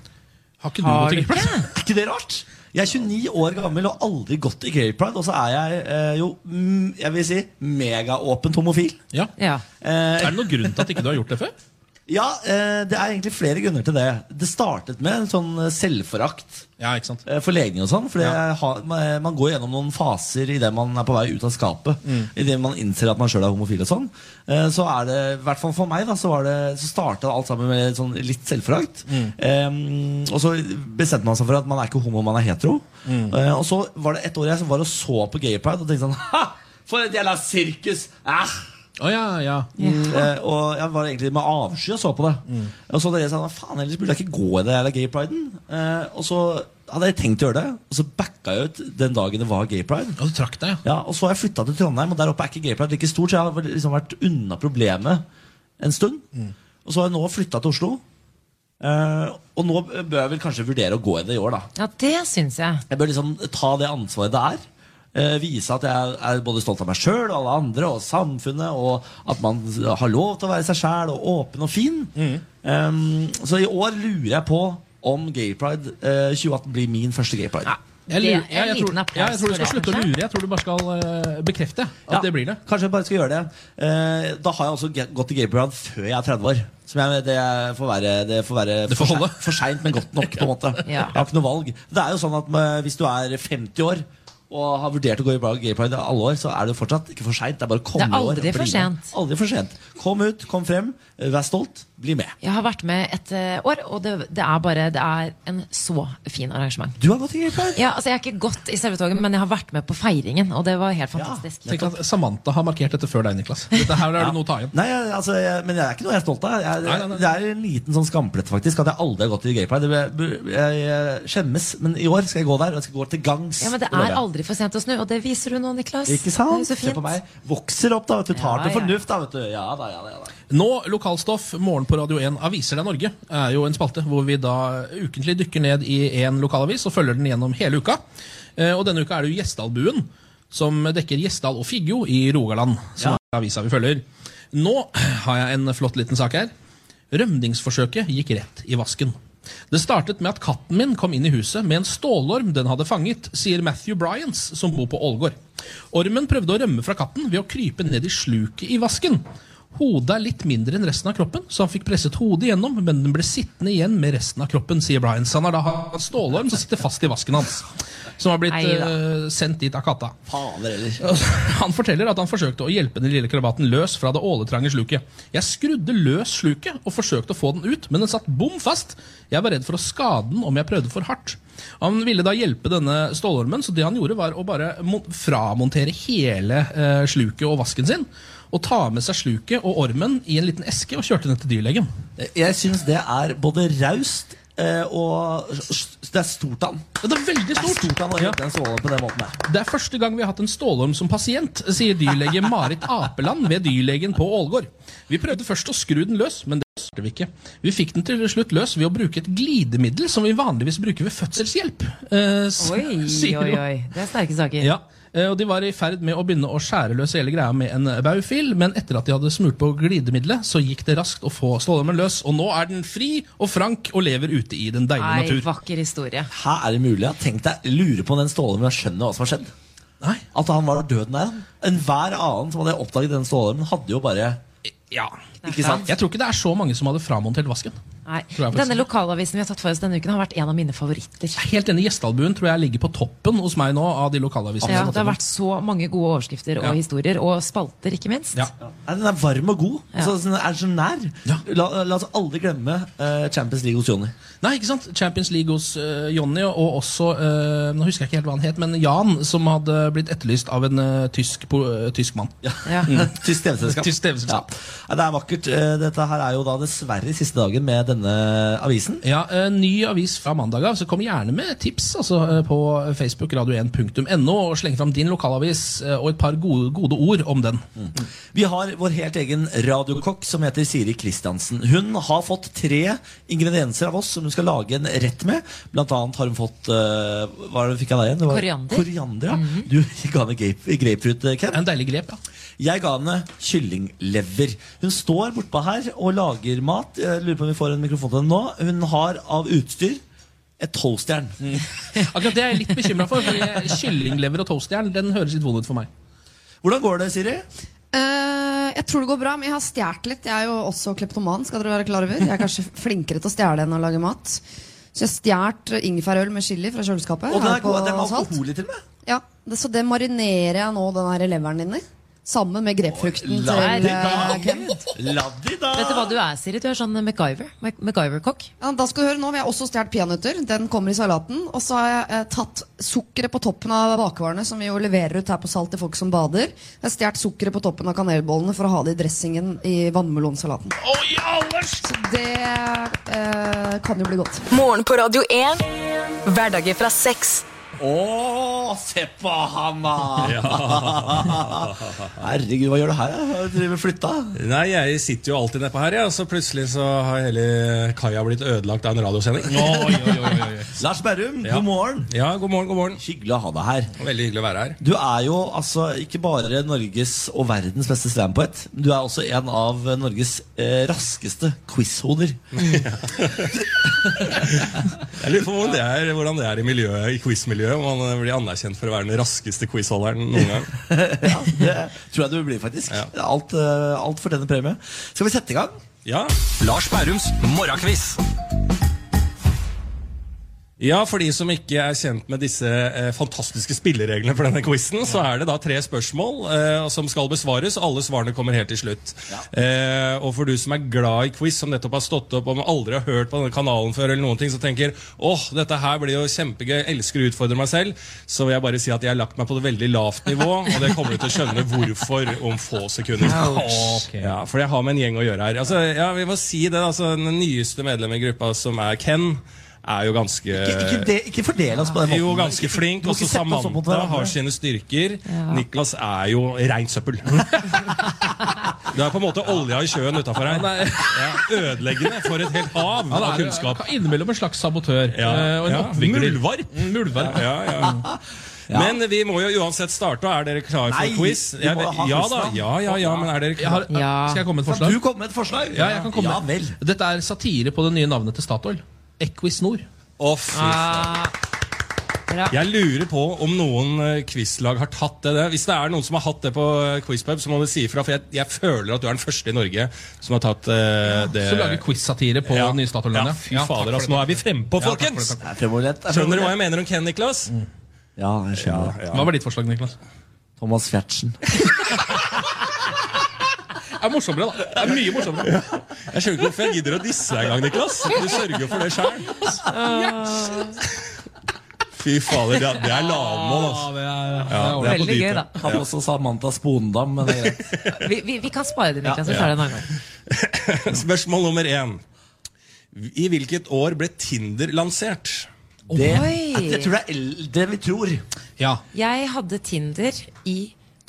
E: Har ikke du noe til gripe?
B: Er ikke det rart? Jeg er 29 år gammel og aldri gått i gay pride, og så er jeg eh, jo mm, jeg vil si, megaåpent homofil.
E: Ja.
C: Ja.
B: Eh,
E: Er det noen grunn til at ikke du har gjort det før?
B: ja, eh, det er egentlig flere grunner til det. Det startet med en sånn eh, selvforakt.
E: Ja, ikke sant?
B: eh, for legning og sånn. For det har- man, man går gjennom noen faser idet man er på vei ut av skapet. I Idet man innser at man sjøl er homofil og sånn. Eh, Så er det, i hvert fall for meg, da, så, var det- så starta alt sammen med sånn litt selvforakt. Eh, og så bestemte man seg for at man er ikke homo, man er hetero. Eh, og så var det et år jeg som var og så på Gay Pride og tenkte sånn Ha! For et jævla sirkus! Ah!
E: Å ja, ja.
B: Eh, og jeg var egentlig med avsky og så på det. Og så da jeg sa faen, ellers burde jeg ikke gå i det jævla gay priden. Eh, og så hadde jeg tenkt å gjøre det, og så backa jeg ut den dagen det var gay pride.
E: Og du trakk deg, ja.
B: Ja, og så har jeg flytta til Trondheim, og der oppe er ikke gay pride like stort, så jeg har liksom vært unna problemet en stund. Og så har jeg nå flytta til Oslo. Eh, og nå bør jeg vel kanskje vurdere å gå i det i år, da.
C: Ja, det syns jeg.
B: Jeg bør liksom ta det ansvaret det er. eh, vise at jeg er både stolt av meg sjøl og alle andre og samfunnet. Og at man har lov til å være seg sjæl og åpen og fin. Um, så i år lurer jeg på om Gay Pride eh, 2018 blir min første Gay Pride.
E: Jeg,
C: Det er
E: lurer- ja, jeg,
C: en
E: tror,
C: liten applaus
E: ja, jeg tror du
C: for
E: skal
C: det,
E: slutte å
C: kanskje?
E: lure. Jeg tror du bare skal eh, bekrefte at
B: Ja,
E: det blir det.
B: Kanskje jeg bare skal gjøre det. Eh, da har jeg også ge- gått til Gay Pride før jeg er 30 år. Som jeg, det får være, det får være
E: Det får
B: for
E: holde.
B: sein- for seint, men godt nok. på en måte
C: Ja.
B: Jeg har ikke noe valg. Det er jo sånn at eh, Hvis du er 50 år og har vurdert å gå i bra- Gay Pride i alle år, så er det jo fortsatt ikke for seint. Det er bare å komme
C: Det er
B: i år og
C: aldri for
B: bli med.
C: sent.
B: Aldri for sent. Kom ut, kom frem, eh, vær stolt, bli med.
C: Jeg har vært med et eh, år, og det, det er bare Det er en så fin arrangement.
B: Du har gått i Gay Pride.
C: Ja, altså Jeg har ikke gått i selve toget, men jeg har vært med på feiringen, og det var helt fantastisk.
E: Tenk at Samantha har markert dette før deg, Niklas. Dette her er det noe å ta igjen.
B: Nei, jeg- altså, jeg, men jeg er ikke noe jeg er stolt av. Jeg,
E: Nei, nei, nei.
B: Det er en liten sånn skamplett faktisk at jeg aldri har gått til Gaypride. Det bør- bør- Jeg, jeg skjemmes, men i år skal jeg gå der. Og jeg skal gå til gangs.
C: Ja, Men det
B: Det lover
C: er
B: jeg.
C: aldri for sent å snu, og det viser du nå, Niklas.
B: Ikke
C: Det er
B: sant?
C: jo så
B: Se på
C: fint.
B: meg. Vokser opp, da. vet Du tar
C: Ja,
B: til
C: ja.
B: fornuft, da. vet du Ja da, ja da. Ja, da.
E: Nå, lokalstoff, morgen på Radio 1, Aviser deg Norge, er jo en spalte hvor vi da ukentlig dykker ned i én lokalavis og følger den gjennom hele uka. Eh, Og denne uka er det jo Gjesdalbuen, som dekker Gjesdal og Figgjo i Rogaland. Som er avisa vi følger. Nå har jeg en flott liten sak her. Rømningsforsøket gikk rett i vasken. Det startet med at katten min kom inn i huset med en stålorm den hadde fanget, sier Matthew Bryans, som bor på Ålgård. Ormen prøvde å rømme fra katten ved å krype ned i sluket i vasken. Hodet er litt mindre enn resten av kroppen, så han fikk presset hodet igjennom, men den ble sittende igjen med resten av kroppen, sier Bryans. Han har da hatt stålorm som sitter fast i vasken hans, som har blitt
C: Neida.
E: eh, sendt dit av katta.
B: Fader heller.
E: Altså, Han forteller at han forsøkte å hjelpe den lille krabaten løs fra det åletrange sluket. Jeg skrudde løs sluket og forsøkte å få den ut, men den satt bom fast. Jeg var redd for å skade den om jeg prøvde for hardt. Han ville da hjelpe denne stålormen, så det han gjorde var å bare mon- framontere hele eh, sluket og vasken sin. Og ta med seg sluket og ormen i en liten eske og kjørte den til dyrlegen.
B: Jeg syns det er både raust eh, og s- s- Det er stort av han.
E: Det er veldig
B: Det er
E: stort!
B: stort av han å
E: Ja.
B: hjelpe en ståle på den måten der.
E: Det er første gang vi har hatt en stålorm som pasient, sier dyrlege Marit Apeland ved dyrlegen på Ålgård. Vi prøvde først å skru den løs, men det klarte vi ikke. Vi fikk den til slutt løs ved å bruke et glidemiddel som vi vanligvis bruker ved fødselshjelp. eh, s-
C: Oi,
E: sier hun.
C: oi, oi. Det er sterke saker.
E: Ja, eh, og De var i ferd med å begynne å skjære løs hele greia med en baufil, men etter at de hadde smurt på glidemiddelet, så gikk det raskt å få stålormen løs. Og nå er den fri og frank og lever ute i den deilige
C: Nei,
E: natur.
C: vakker historie.
B: Her er det mulig. Jeg tenkte jeg lurer på om den stålormen skjønner hva som har skjedd.
E: Nei,
B: At han var døden der. han. Enhver annen som hadde oppdaget den stålormen, hadde jo bare
E: ja.
B: Ikke sant?
E: Jeg tror ikke det er så mange som hadde framontert vasken.
C: Nei.
E: Tror jeg faktisk.
C: Denne lokalavisen vi har tatt for oss denne uken, har vært en av mine favoritter.
E: Helt enig, Gjesdalbuen tror jeg ligger på toppen hos meg nå av de lokalavisene.
C: Ja, det har vært så mange gode overskrifter og
E: Ja.
C: historier, og spalter, ikke minst.
E: Ja.
B: Nei, den er varm og god.
C: Ja.
B: Altså, den er så nær.
E: Ja.
B: La, la oss aldri glemme eh, Champions League hos Johnny.
E: Nei, ikke sant? Champions League hos eh, Jonny, og også eh, Nå husker jeg ikke helt hva han het, men Jan, som hadde blitt etterlyst av en eh, tysk, po eh, tysk mann.
C: Ja.
E: Mm.
B: Tysk TV-selskap.
E: Tysk TV-selskap.
B: Ja. Nei, Det er vakkert. Eh, Dette her er jo da dessverre siste dagen med denne avisen.
E: Ja, eh, Ny avis fra mandag av, så kom gjerne med tips altså, eh, på Facebook radio1.no. Og sleng fram din lokalavis eh, og et par gode, gode ord om den.
B: Mm. Vi har vår helt egen radiokokk som heter Siri Kristiansen. Hun har fått tre ingredienser av oss som hun skal lage en rett med. Blant annet har hun fått eh, Hva er det hun fikk av deg igjen? Det var-
C: Koriander.
B: Koriander, ja. Du ga henne grape- grapefruit, eh, Ken.
E: En deilig grep, ja.
B: Jeg ga henne kyllinglever. Hun står bortpå her og lager mat. Jeg lurer på om vi får en mikrofon til henne nå. Hun har av utstyr et tolvstjern.
E: Akkurat det er jeg litt bekymra for. fordi Kyllinglever og toastjern den høres litt vond ut for meg.
B: Hvordan går det, Siri?
F: Eh, jeg tror det går bra, men jeg har stjålet litt. Jeg er jo også kleptoman. skal dere være klar over Jeg er kanskje flinkere til å stjele enn å lage mat. Så jeg stjal ingefærøl med chili fra kjøleskapet.
B: Og den
F: her
B: er, god,
F: på
B: den er
F: Salt.
B: alkohol i til og med.
F: Ja, det, Så det marinerer jeg nå den her leveren din i. Sammen med grepfrukten til
B: La de
F: eh,
B: da!
F: Ken.
B: La de da!
C: Vet du hva du er, Siri? Du er sånn MacGyver. Mac- MacGyver-kokk.
F: Ja, da skal du høre, Nå har jeg også stjålet peanøtter. Den kommer i salaten. Og så har jeg eh, tatt sukkeret på toppen av bakevarene, som vi jo leverer ut her på Salt til folk som bader. Jeg har stjålet sukkeret på toppen av kanelbollene for å ha det i dressingen i vannmelonsalaten.
B: Å, i alle
F: Så det eh, kan jo bli godt.
A: Morgen på Radio 1. Hverdager fra seks.
B: Å, se på han, da! Herregud, hva gjør du her? da? Du driver og flytta?
I: Nei, jeg sitter jo alltid nedpå her, ja, og så plutselig så har hele kaia blitt ødelagt av en radiosending.
B: Lars Berrum,
I: Ja.
B: god morgen!
I: Ja, god morgen, god morgen.
B: Hyggelig å ha deg her.
I: Veldig hyggelig å være her.
B: Du er jo altså ikke bare Norges og verdens beste slampoet. Du er også en av Norges eh, raskeste quizhoder.
I: Jeg lurer på hvordan det er, hvordan det er i, miljøet, i quizmiljøet, om man blir anerkjent for å være den raskeste quizholderen noen gang.
B: ja, det tror jeg du blir, faktisk.
I: Ja.
B: Alt, eh, alt for denne premie. Skal vi sette i gang?
I: Ja,
J: Lars Bærums morgenkviss.
I: Ja, for de som ikke er kjent med disse eh, fantastiske spillereglene for denne quizen, så er det da tre spørsmål eh, som skal besvares, og alle svarene kommer helt til slutt. Eh, og for du som er glad i quiz, som nettopp har stått opp og aldri har hørt på denne kanalen før, eller noen ting, så tenker åh, dette her blir jo kjempegøy, jeg elsker å utfordre meg selv, så vil jeg bare si at jeg har lagt meg på et veldig lavt nivå, og det kommer du til å skjønne hvorfor om få sekunder. Ja, for jeg har med en gjeng å gjøre her. Altså, ja, vi må si det, altså, den nyeste medlemmen i gruppa som er Ken, er jo ganske
B: Ikke, ikke, de, ikke fordel oss på den måten.
I: jo, ganske flink.
B: Du må
I: Og
B: ikke
I: så
B: sette oss opp mot
I: Samantha
B: hverandre.
I: har sine styrker. Niklas er jo reint søppel. Du er på en måte olja i sjøen utafor her. Ja, ødeleggende for et helt hav
E: Han
I: av
E: er
I: kunnskap.
E: innimellom en slags sabotør.
I: Ja,
E: eh, og en
I: ja.
E: oppvigler.
I: Muldvarp.
E: Muldvarp.
I: Ja, ja. Men vi må jo uansett starte. og Er dere klare for
B: Nei,
I: quiz?
B: vi må
I: Jeg,
B: ha
I: ja
B: quiz,
I: da.
B: da.
I: Ja, ja, ja, men er dere
E: Jeg har,
I: klare?
C: Ja.
E: Skal jeg komme med et
B: Kan
E: forslag?
B: du komme med et forslag?
E: Ja, jeg kan komme
B: Ja vel.
E: Dette er satire på det nye navnet til Statoil. Equisnor.
I: Å, fy faen. Jeg lurer på om noen eh, quizlag har tatt det. der. Hvis det er noen som har hatt det på eh, Quizpub, så må du si ifra. For jeg, jeg føler at du er den første i Norge som har tatt eh, det.
E: Som lager quiz-satire på det nye
I: ja,
E: Statoil-landet.
I: fy fader, altså. Nå er vi fremme på,
E: takk for det,
I: folkens!
E: takk
B: Det er fremoverlent. det er Mm.
I: Skjønner du hva
B: fremoverlent.
I: jeg mener om Ken, Niklas?
B: Ja, jeg skjønner det.
E: Hva var ditt forslag, Niklas?
B: Thomas Fjertsen.
E: Det er morsommere, da. Det er mye morsommere.
I: Jeg skjønner ikke hvorfor jeg gidder å disse deg engang, Niklas. Du sørger jo for det sjøl. Fy fader, det er, det er lavmål, altså.
E: det er,
I: Det er på
C: Veldig gøy,
I: dypet.
C: da.
B: Kan også Samantha Spondam, men det er greit.
C: Vi, vi, vi kan spare det, Niklas. Vi tar det en annen gang.
I: Spørsmål nummer én. I hvilket år ble Tinder lansert?
B: Det,
C: Oi.
B: jeg tror det er el- det vi tror.
E: Ja.
C: Jeg hadde Tinder i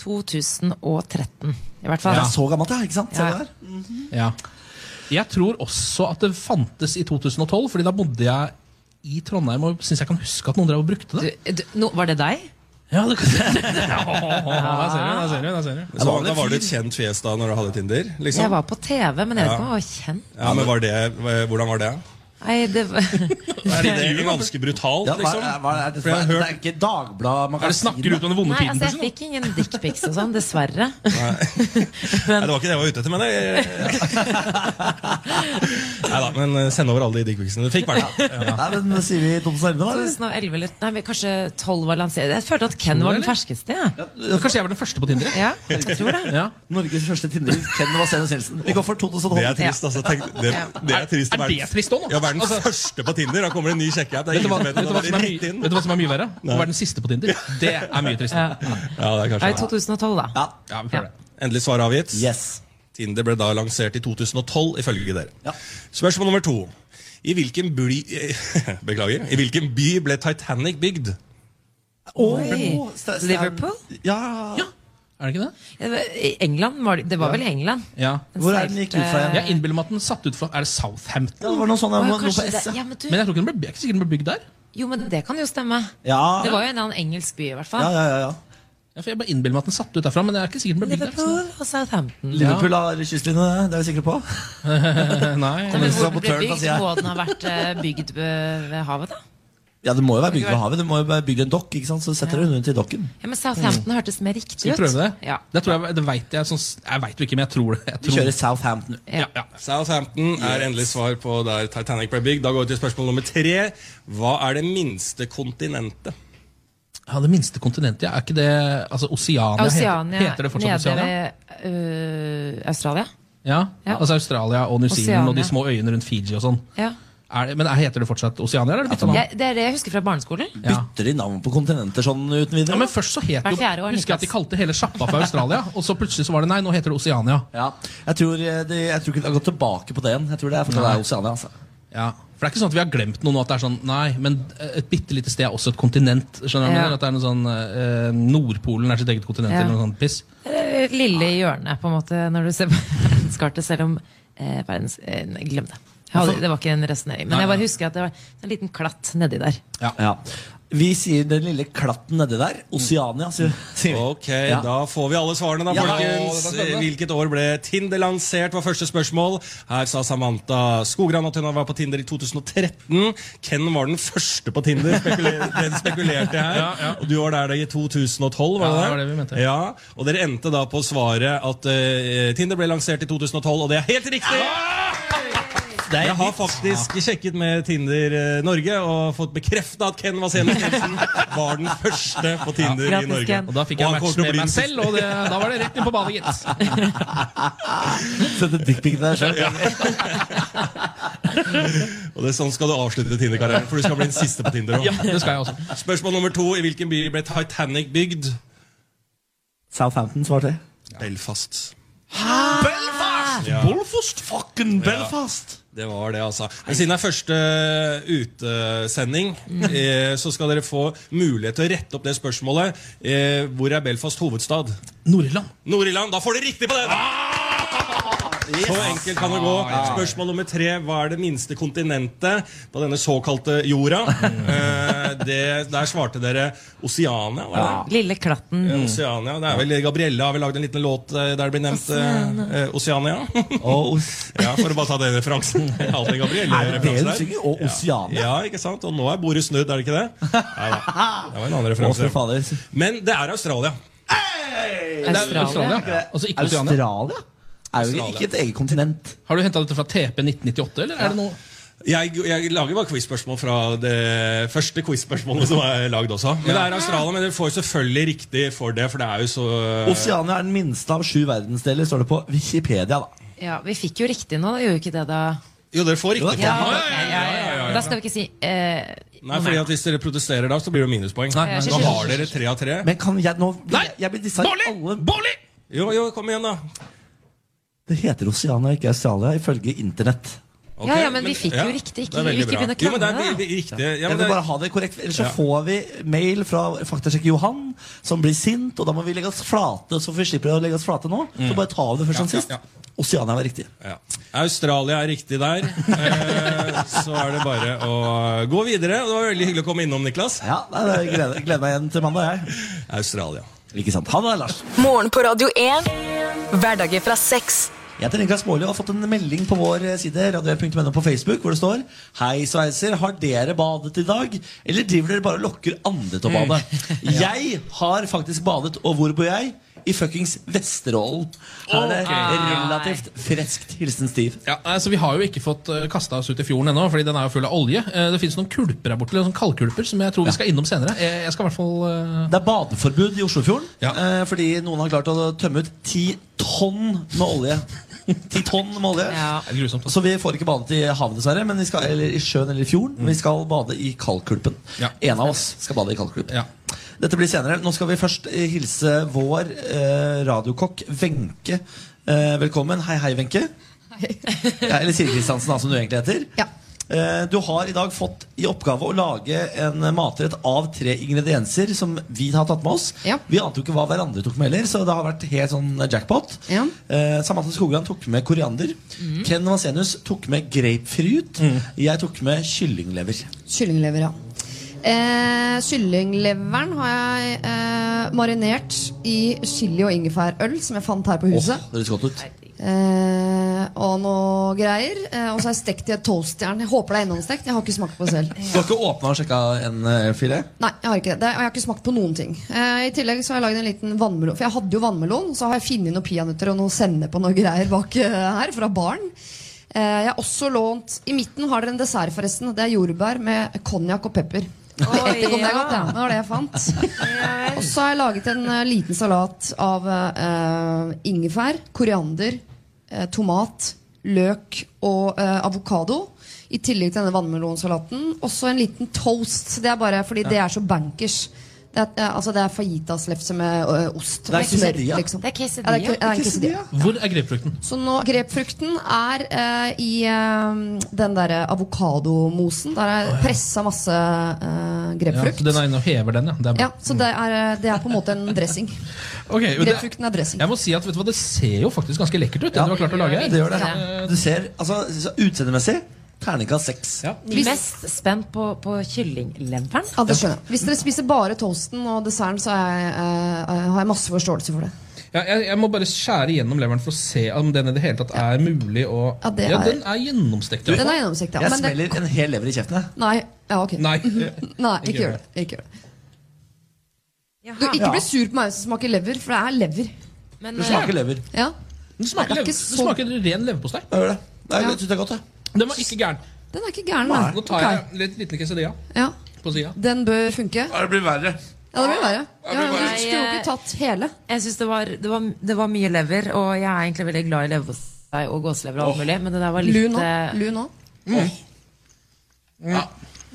C: 2013, i hvert
B: Det
C: fall.
B: er så gammelt, ja. ikke sant? Se
C: Ja.
B: der.
E: ja. Jeg tror også at det fantes i 2012, Fordi da bodde jeg i Trondheim og syns jeg kan huske at noen drev og brukte
C: Du,
E: det.
C: du, nå- var det deg?
E: Ja, det kan Der ser du, der ser du.
I: Så, da var du et kjent fjes da når du hadde Tinder?
C: Jeg
I: liksom?
C: var på TV, men jeg vet ikke om jeg var kjent.
I: Ja, men var det, Hvordan var det?
C: Nei, det var...
I: Er det, ganske brutalt,
B: Ja, hva,
I: liksom?
B: hva er det,
I: For jeg har
B: det
I: hørt-
B: er ikke Dagbladet man
E: Er
B: kan
E: det snakker du ut om den vonde
C: Nei,
E: tiden?
C: altså jeg fikk ingen dickpics og sånn, dessverre.
I: Nei, det var ikke det jeg var ute etter, men jeg... Nei da, men eh, send over alle de dickpicsene du fikk. Bare.
B: Nei, men da sier vi Thomas Arne, da? eller?
C: 2011 eller Nei, men kanskje 12 var lansert. Jeg følte at Ken var den ferskeste. jeg.
E: Kanskje jeg var den første på Tinder?
C: Ja, jeg tror det.
E: Ja.
B: Norges første Tinder. Ken Vasenus Jensen. Vi går for
I: Det er
B: 2012.
I: trist, altså. Tenk, det, det er trist å
E: Er
I: være-
E: det trist også, nå?
I: Ja, være den første på Tinder. Da kommer det en ny sjekkeapp. Det er
E: Vet du, hva,
I: ingen som
E: vet,
I: vet
E: du hva
I: at det
E: som er
I: er
E: mye,
I: rett inn.
E: vet du hva som er mye verre? Å være den siste på Tinder. Det er mye tristere.
I: Ja, det er kanskje
C: Nei, 2012, da.
B: Ja.
E: Ja, vi prøver det.
I: Endelig svar avgitt.
B: Yes.
I: Tinder ble da lansert i 2012, ifølge dere.
B: Ja.
I: Spørsmål nummer to. I hvilken, bly, beklager. I hvilken by ble Titanic bygd?
B: Åh, sta- sta-
C: Liverpool?
B: Ja.
E: Er det ikke det?
C: Ja, det var- I England var det, det var vel i England?
E: Ja.
B: Hvor er den gikk ut fra igjen?
E: Jeg innbiller meg at den satt ut fra Er det Southampton?
B: Ja, det var noe sånt,
C: Å,
B: jeg
C: ja,
B: må- noe på
C: kanskje
B: S.
C: det.
B: ja.
C: Ja, men du,
E: Men jeg tror ikke den ble, jeg er ikke sikkert den ble bygd der.
C: jo, men det kan jo stemme.
B: Ja.
C: Det var jo en annen engelsk by, i
B: Ja,
C: hvert
B: ja,
C: fall.
B: ja, ja.
E: Ja, for jeg bare innbiller meg at den satt ut derfra, men jeg er ikke sikkert den ble bygd der.
C: Liverpool og Southampton.
B: Liverpool har kystlinje, det er vi sikre på.
E: Nei.
C: Ja, men
B: Kommunen
C: hvor den ble
B: sabotøren, da,
C: bygd?
E: altså,
B: sier jeg.
C: Må den ha vært eh, bygd ved ved havet, da?
B: Ja, Det må jo være bygd ved havet. Det må jo være bygd en dokk, ikke sant? så du setter du hunden til dokken.
C: Ja, men Southampton hørtes mer riktig ut.
E: Skal vi prøve det?
C: Ja.
E: Det tror jeg, det vet jeg sånn, Jeg vet jo ikke, men jeg tror det. Jeg
B: Vi
E: tror.
B: kjører Southampton.
E: Ja, ja.
I: Southampton er endelig svar på der Titanic ble bygd. Da går vi til spørsmål nummer tre. Hva er det minste kontinentet?
E: Ja, Det minste kontinentet, ja. Er ikke det altså Oceania? heter-
C: Oceania
E: heter det fortsatt
C: nede
E: Oceania?
C: ved øh, Australia.
E: Ja,
C: Ja.
E: altså Australia og New Zealand og
C: Oceania.
E: de små øyene rundt Fiji og sånn.
C: Ja.
E: Er det, men er, heter det fortsatt Oceania? Eller er det byttet navn?
C: Jeg, det er det jeg husker fra barneskolen.
E: Ja.
B: Bytter de navn på kontinenter sånn uten videre?
E: Ja, men først så het jo,
C: Hvert fjerde år,
E: husker jeg at de
C: Niklas.
E: kalte hele sjappa for Australia, og så plutselig så var det nei, nå heter det Oceania.
B: Ja, jeg tror, eh, det, jeg tror ikke de har gått tilbake på det igjen. Jeg tror det er fortsatt
E: Nei.
B: er Oceania. Altså.
E: Ja. For det er ikke sånn at vi har glemt noe nå, at det er sånn nei, men et bitte lite sted er også et kontinent. Skjønner du? hva jeg
C: Ja.
E: mener? At det er noe sånn eh, Nordpolen er sitt eget kontinent,
C: Ja.
E: eller noe sånt piss.
C: Eh, Lille hjørne, på en måte, når du ser på verdenskartet, selv om eh, verdens... Eh, nei, glem det. Jeg hadde, det var ikke en resonering. Men
E: Nei,
C: jeg bare
E: Altså- nei.
C: husker at det var en liten klatt nedi der.
B: Ja. Vi sier den lille klatten nedi der. Oceania, sier, sier vi.
I: Ok, da får vi alle svarene, da,
B: Ja. Å,
I: folkens.
B: dette er spennende.
I: Hvilket år ble Tinder lansert, var første spørsmål. Her sa Samantha Skogran at hun var på Tinder i 2013. Ken var den første på Tinder, spekuler- den spekulerte jeg her. Og du var der da i 2012, var
E: Ja,
I: det
E: det var det vi mente.
I: Ja, Og dere endte da på svaret at eh, Tinder ble lansert i 2012, og det er helt riktig!
B: Det er
I: Jeg har faktisk sjekket med Tinder eh, Norge og fått bekrefta at Ken Vasenus Nilsen var den første på Tinder i
C: Grattis,
I: Norge.
C: Ken.
E: Og da fikk
I: Og
E: jeg
I: han kommer til
E: match
I: å
E: med
I: bli
E: meg
I: den
E: selv, og det, da var det rett inn på badet, gitt.
B: Sette dickpic til deg sjøl.
I: Og det er sånn skal du avslutte Tinder-karrieren, for du skal bli den siste på Tinder også.
E: Ja, det skal jeg også.
I: Spørsmål nummer to. I hvilken by ble Titanic bygd?
B: Southampton svarte jeg.
I: Belfast.
B: Belfast!
I: Ja.
B: Belfast! Fucking Belfast!
I: Det var det, altså. Men siden det er første eh, utesending,
E: Mm.
I: eh, så skal dere få mulighet til å rette opp det spørsmålet. Eh, hvor er Belfast hovedstad?
E: Nord-Irland.
I: Nord-Irland. Da får dere riktig på det! Ah! Så enkelt kan det gå.
B: Ah,
I: Spørsmål nummer tre. Hva er det minste kontinentet på denne såkalte jorda? Eh, det, der svarte dere Oceania. Var det?
B: Ah.
C: Lille klatten.
I: Oceania. Det er vel Gabrielle har vel lagd en liten låt eh, der det blir nevnt eh, eh, Oceania.
B: Og
I: ja, For å bare ta den referansen. Alltid
B: Er det det hun
I: Gabrielle.
B: synger? Og Oceania?
I: Ja, ikke sant? Og nå er bordet snudd, er det ikke det? Nei da. Det var en annen
B: Å, fy
I: referanse.
B: fader.
I: Men det er Australia.
E: Det er Australia. Altså ikke Oceania.
B: Australia? Er jo ikke et eget kontinent.
E: Har du henta dette fra TP 1998, eller er det noe
I: Jeg, jeg lager bare quizspørsmål fra det første quizspørsmålet som er lagd også. Men det er Australia, men dere får selvfølgelig riktig for det, for det er jo så
B: Oceania er den minste av sju verdensdeler, står det på Wikipedia. da
C: Ja, vi fikk jo riktig nå, da gjorde vi ikke det da?
I: Jo, dere får riktig.
C: Ja,
I: for det.
C: ja, ja, ja. Da skal vi ikke si eh,
I: Nei, fordi at Hvis dere protesterer da, så blir det minuspoeng.
E: Nei,
C: nei.
I: Da har dere tre av tre.
B: Men kan jeg nå
E: Nei!
B: Jeg blir dissa i
E: Bårli!
B: alle
E: Bårli!
I: Jo, jo, kom igjen, da.
B: Det heter Oceania, ikke Australia, ifølge Internett.
I: Ok,
C: Ja, ja, men vi fikk jo riktig. Ikke-
I: det er veldig
C: vi ikke
I: bra.
C: begynne å
I: Jo, men det er
C: krangle, da.
I: veldig riktig. Ja,
B: Jeg
I: men
B: vil
I: det,
B: bare ha det korrekt, ellers så
I: Ja.
B: får vi mail fra faktasjekker Johan, som blir sint, og da må vi legge oss flate, så vi slipper å legge oss flate nå. Så bare ta av det først som
I: Mm. Ja, ja,
B: sist. Oceania var riktig.
I: ja. Australia er riktig der. Eh, så er det bare å gå videre. Det var veldig hyggelig å komme innom, Niklas.
B: Ja, nei, det jeg gleder, gleder meg igjen til mandag, jeg.
I: Australia.
B: Ikke sant. Ha det, Lars.
A: Morgen på Radio 1. Hverdager fra seks.
B: Jeg heter Niklas Baarli og har fått en melding på vår eh, side radio1.no på Facebook, hvor det står Hei, sveiser. Har dere badet i dag? Eller driver dere bare og lokker andre til å bade?
E: Mm.
B: Jeg har faktisk badet, og hvor bor jeg? I fuckings Vesterålen. Her er det relativt freskt. Hilsen Stiv.
E: Ja, altså Vi har jo ikke fått kasta oss ut i fjorden ennå, Fordi den er jo full av olje. Eh, Det fins noen kulper her borte, eller sånn kaldkulper, som jeg tror vi skal innom senere. Jeg, jeg skal i hvert fall eh,
B: Det er badeforbud i Oslofjorden
E: Ja.
B: eh, fordi noen har klart å tømme ut ti tonn med olje. Ti tonn med olje.
C: Ja.
E: det er Grusomt.
B: Så vi får ikke badet i havet, dessverre, men vi skal, eller i sjøen eller i fjorden. Vi skal bade i Kalkkulpen.
E: Mm. Ja.
B: En av oss skal bade i Kalkkulpen.
E: Ja.
B: Dette blir senere. Nå skal vi først eh, hilse vår eh, radiokokk Wenche. Eh, velkommen. Hei, hei, Wenche. Ja, eller Siri Kristiansen, da, som du egentlig heter.
F: Ja.
B: Eh, Du har i dag fått i oppgave å lage en matrett av tre ingredienser som vi har tatt med oss.
F: Ja.
B: Vi ante jo ikke hva hverandre tok med heller, så det har vært helt sånn jackpot.
F: Ja. Mm.
B: Eh, Samantha Skogran tok med koriander. Ken Vasenius tok med grapefruit. Jeg tok med kyllinglever.
F: Kyllinglever, ja. Eh, kyllingleveren har jeg eh, marinert i chili- og ingefærøl, som jeg fant her på
B: Åh,
F: huset.
B: det høres godt ut.
F: Eh, og noe greier. Eh, og så har jeg stekt i et toastjern. Jeg håper det er innomstekt. Jeg har ikke smakt på det selv.
B: Du har ikke åpna og sjekka en eh, filet?
F: Nei, jeg har ikke det. det. Og jeg har ikke smakt på noen ting. Eh, I tillegg så har jeg laget en liten vannmelon. For jeg hadde jo vannmelon. Så har jeg funnet noen peanøtter og noe sennep og noe greier bak eh, her fra baren. Eh, jeg har også lånt I midten har dere en dessert, forresten. Det er jordbær med konjakk og pepper. Det kom det godt, ja. Det var det jeg fant. Og så har jeg laget en eh, liten salat av eh, ingefær, koriander, eh, tomat, løk og eh, avokado. I tillegg til denne vannmelonsalaten. Også en liten toast. Det er bare fordi det er så bankers. Det er, eh, altså det er fajitas-lefse med eh, ost.
B: Det er
F: og smør,
B: quesadilla.
C: Det er quesadilla.
F: Ja, det er, que- det er en quesadilla.
E: Hvor er grepfrukten?
F: Så nå, grepfrukten er eh, i eh, den derre avokadomosen. Der er pressa masse eh,
E: Ja,
F: grepfrukt.
E: så den er inne og hever den, ja. Det er bra.
F: Ja, så det er, eh, det er på en måte en dressing.
E: Ok, men det-
F: Grepfrukten er dressing.
E: jeg må si at vet du hva, Det ser jo faktisk ganske lekkert ut, det
B: Ja.
E: du har klart å lage her.
B: Det gjør det. Du ser, altså, så Utseendemessig terningkast seks.
E: Ja.
F: Hvis-
C: Mest spent på, på kyllingleveren.
F: Ja, det skjønner jeg. Hvis dere spiser bare toasten og desserten, så er jeg, eh, har jeg masse forståelse for det.
E: Ja, jeg, jeg må bare skjære gjennom leveren for å se om den i det hele tatt er mulig å
F: Ja, det
E: Ja,
F: er-
E: den er gjennomstekt.
F: Den
E: Ja.
F: er gjennomsiktig. Ja.
B: Jeg
F: Men det,
B: smeller en hel lever i kjeften. jeg.
F: nei, ja, ok.
E: Nei.
F: Nei, ikke gjør det. Ikke gjør det. Du, ikke bli sur på meg hvis det smaker lever, for det er lever.
C: Men,
B: Du smaker lever.
F: Ja.
E: Den smaker,
F: Det er
E: lever,
F: ikke
E: den
F: så-
E: smaker ren leverpostei.
B: Jeg gjør det. Nei, Jeg synes det er godt, jeg.
E: Den var ikke gæren.
F: Den er ikke gæren, nei.
E: Nå tar
F: Ok.
E: jeg litt liten quesadilla
F: Ja.
E: på sida.
F: Den bør funke.
B: Det blir verre.
F: Ja, det blir verre. Ja, men
C: verre.
F: du skulle jo ikke tatt hele.
C: Jeg synes det var, det, var, det var mye lever, og jeg er egentlig veldig glad i leverpostei og gåselever og alt mulig, men det der var
F: Lu
C: litt
F: nå.
C: eh,
F: Lu nå.
E: Nei,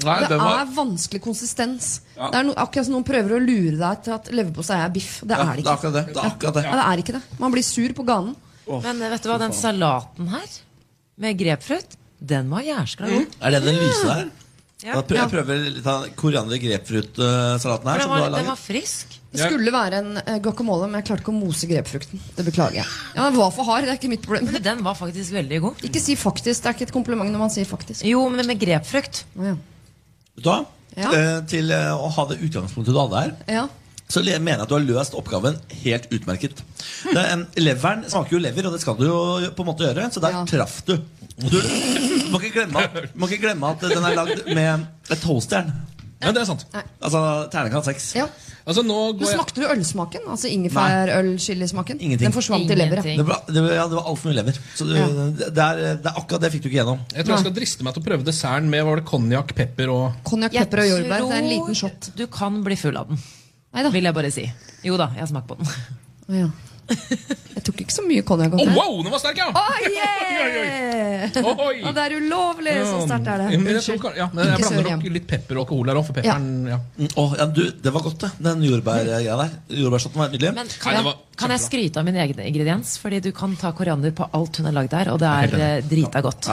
F: Det
E: den var
F: er vanskelig konsistens. Det er no, akkurat som noen prøver å lure deg til at leverpostei er biff. Det
B: Ja,
F: er det
B: det er
F: ikke.
B: akkurat det. det, er akkurat det.
F: Ja, det er ikke det. Man blir sur på ganen.
C: Men eh, vet du hva, den salaten her med grepfrukt, den var jæskla god.
B: Er det Mm, den lyse der?
C: Ja.
B: Da prø- Jeg prøver litt av koriander-grepfrutsalaten
C: For
B: eh, her.
C: den
B: Som du
C: var,
B: har
C: den var
B: laget.
C: frisk.
F: Det skulle være en eh, guacamole, men jeg klarte ikke å mose grepfrukten. Det beklager jeg. Ja, Den var for hard. Det er ikke mitt problem.
C: Men den var faktisk veldig god.
F: Ikke si faktisk. Det er ikke et kompliment når man sier faktisk.
C: Jo, men med grepfrukt.
F: Ja.
B: Vet du hva?
F: Ja.
B: Eh, Til eh, å ha det utgangspunktet du hadde her.
F: ja.
B: så le- mener jeg at du har løst oppgaven helt utmerket. Det er en, leveren smaker jo lever, og det skal du jo på en måte gjøre, så der
F: Ja.
B: traff du. Du må ikke, glemme at, må ikke glemme at den er lagd med et toastjern.
E: Ja, det er sant.
B: Altså terningkast seks.
F: ja.
E: Altså, nå
F: Men
E: går jeg
F: smakte du ølsmaken? Altså ingefærøl-chilismaken?
B: Ingenting.
F: Den forsvant i leveret.
B: Det var, det var, ja, det var altfor mye lever. Så du,
F: Ja.
B: det, er, det er akkurat det fikk du ikke gjennom.
E: Jeg tror jeg skal driste meg til å prøve desserten med var det konjakk, pepper og
F: Konjakk, pepper og jordbær. Det er en liten shot.
C: du kan bli full av den,
F: Neida.
C: vil jeg bare si. Jo da, jeg smaker på den.
F: Å, Ja. Jeg tok ikke så mye konjakk.
E: Å,
F: oppi.
E: wow, den var sterk, ja!
F: Å, yeah!
E: Oi, oi, oi.
F: Og det er ulovlig! Så sterkt er
E: Ja,
F: det.
E: men jeg tror kan- Ja, men jeg
F: Ikke
E: blander
F: sør
E: nok
F: hjem.
E: litt pepper og alkohol her òg, for pepperen ja.
B: Mm, Åh, ja, du, det var godt, det. Den jordbærgreia der. Jordbærshotten var nydelig.
E: Nei,
C: Men
E: det
C: kan,
E: var
C: kan jeg skryte av min egen ingrediens? Fordi du kan ta koriander på alt hun har lagd der, og det er eh, drita godt.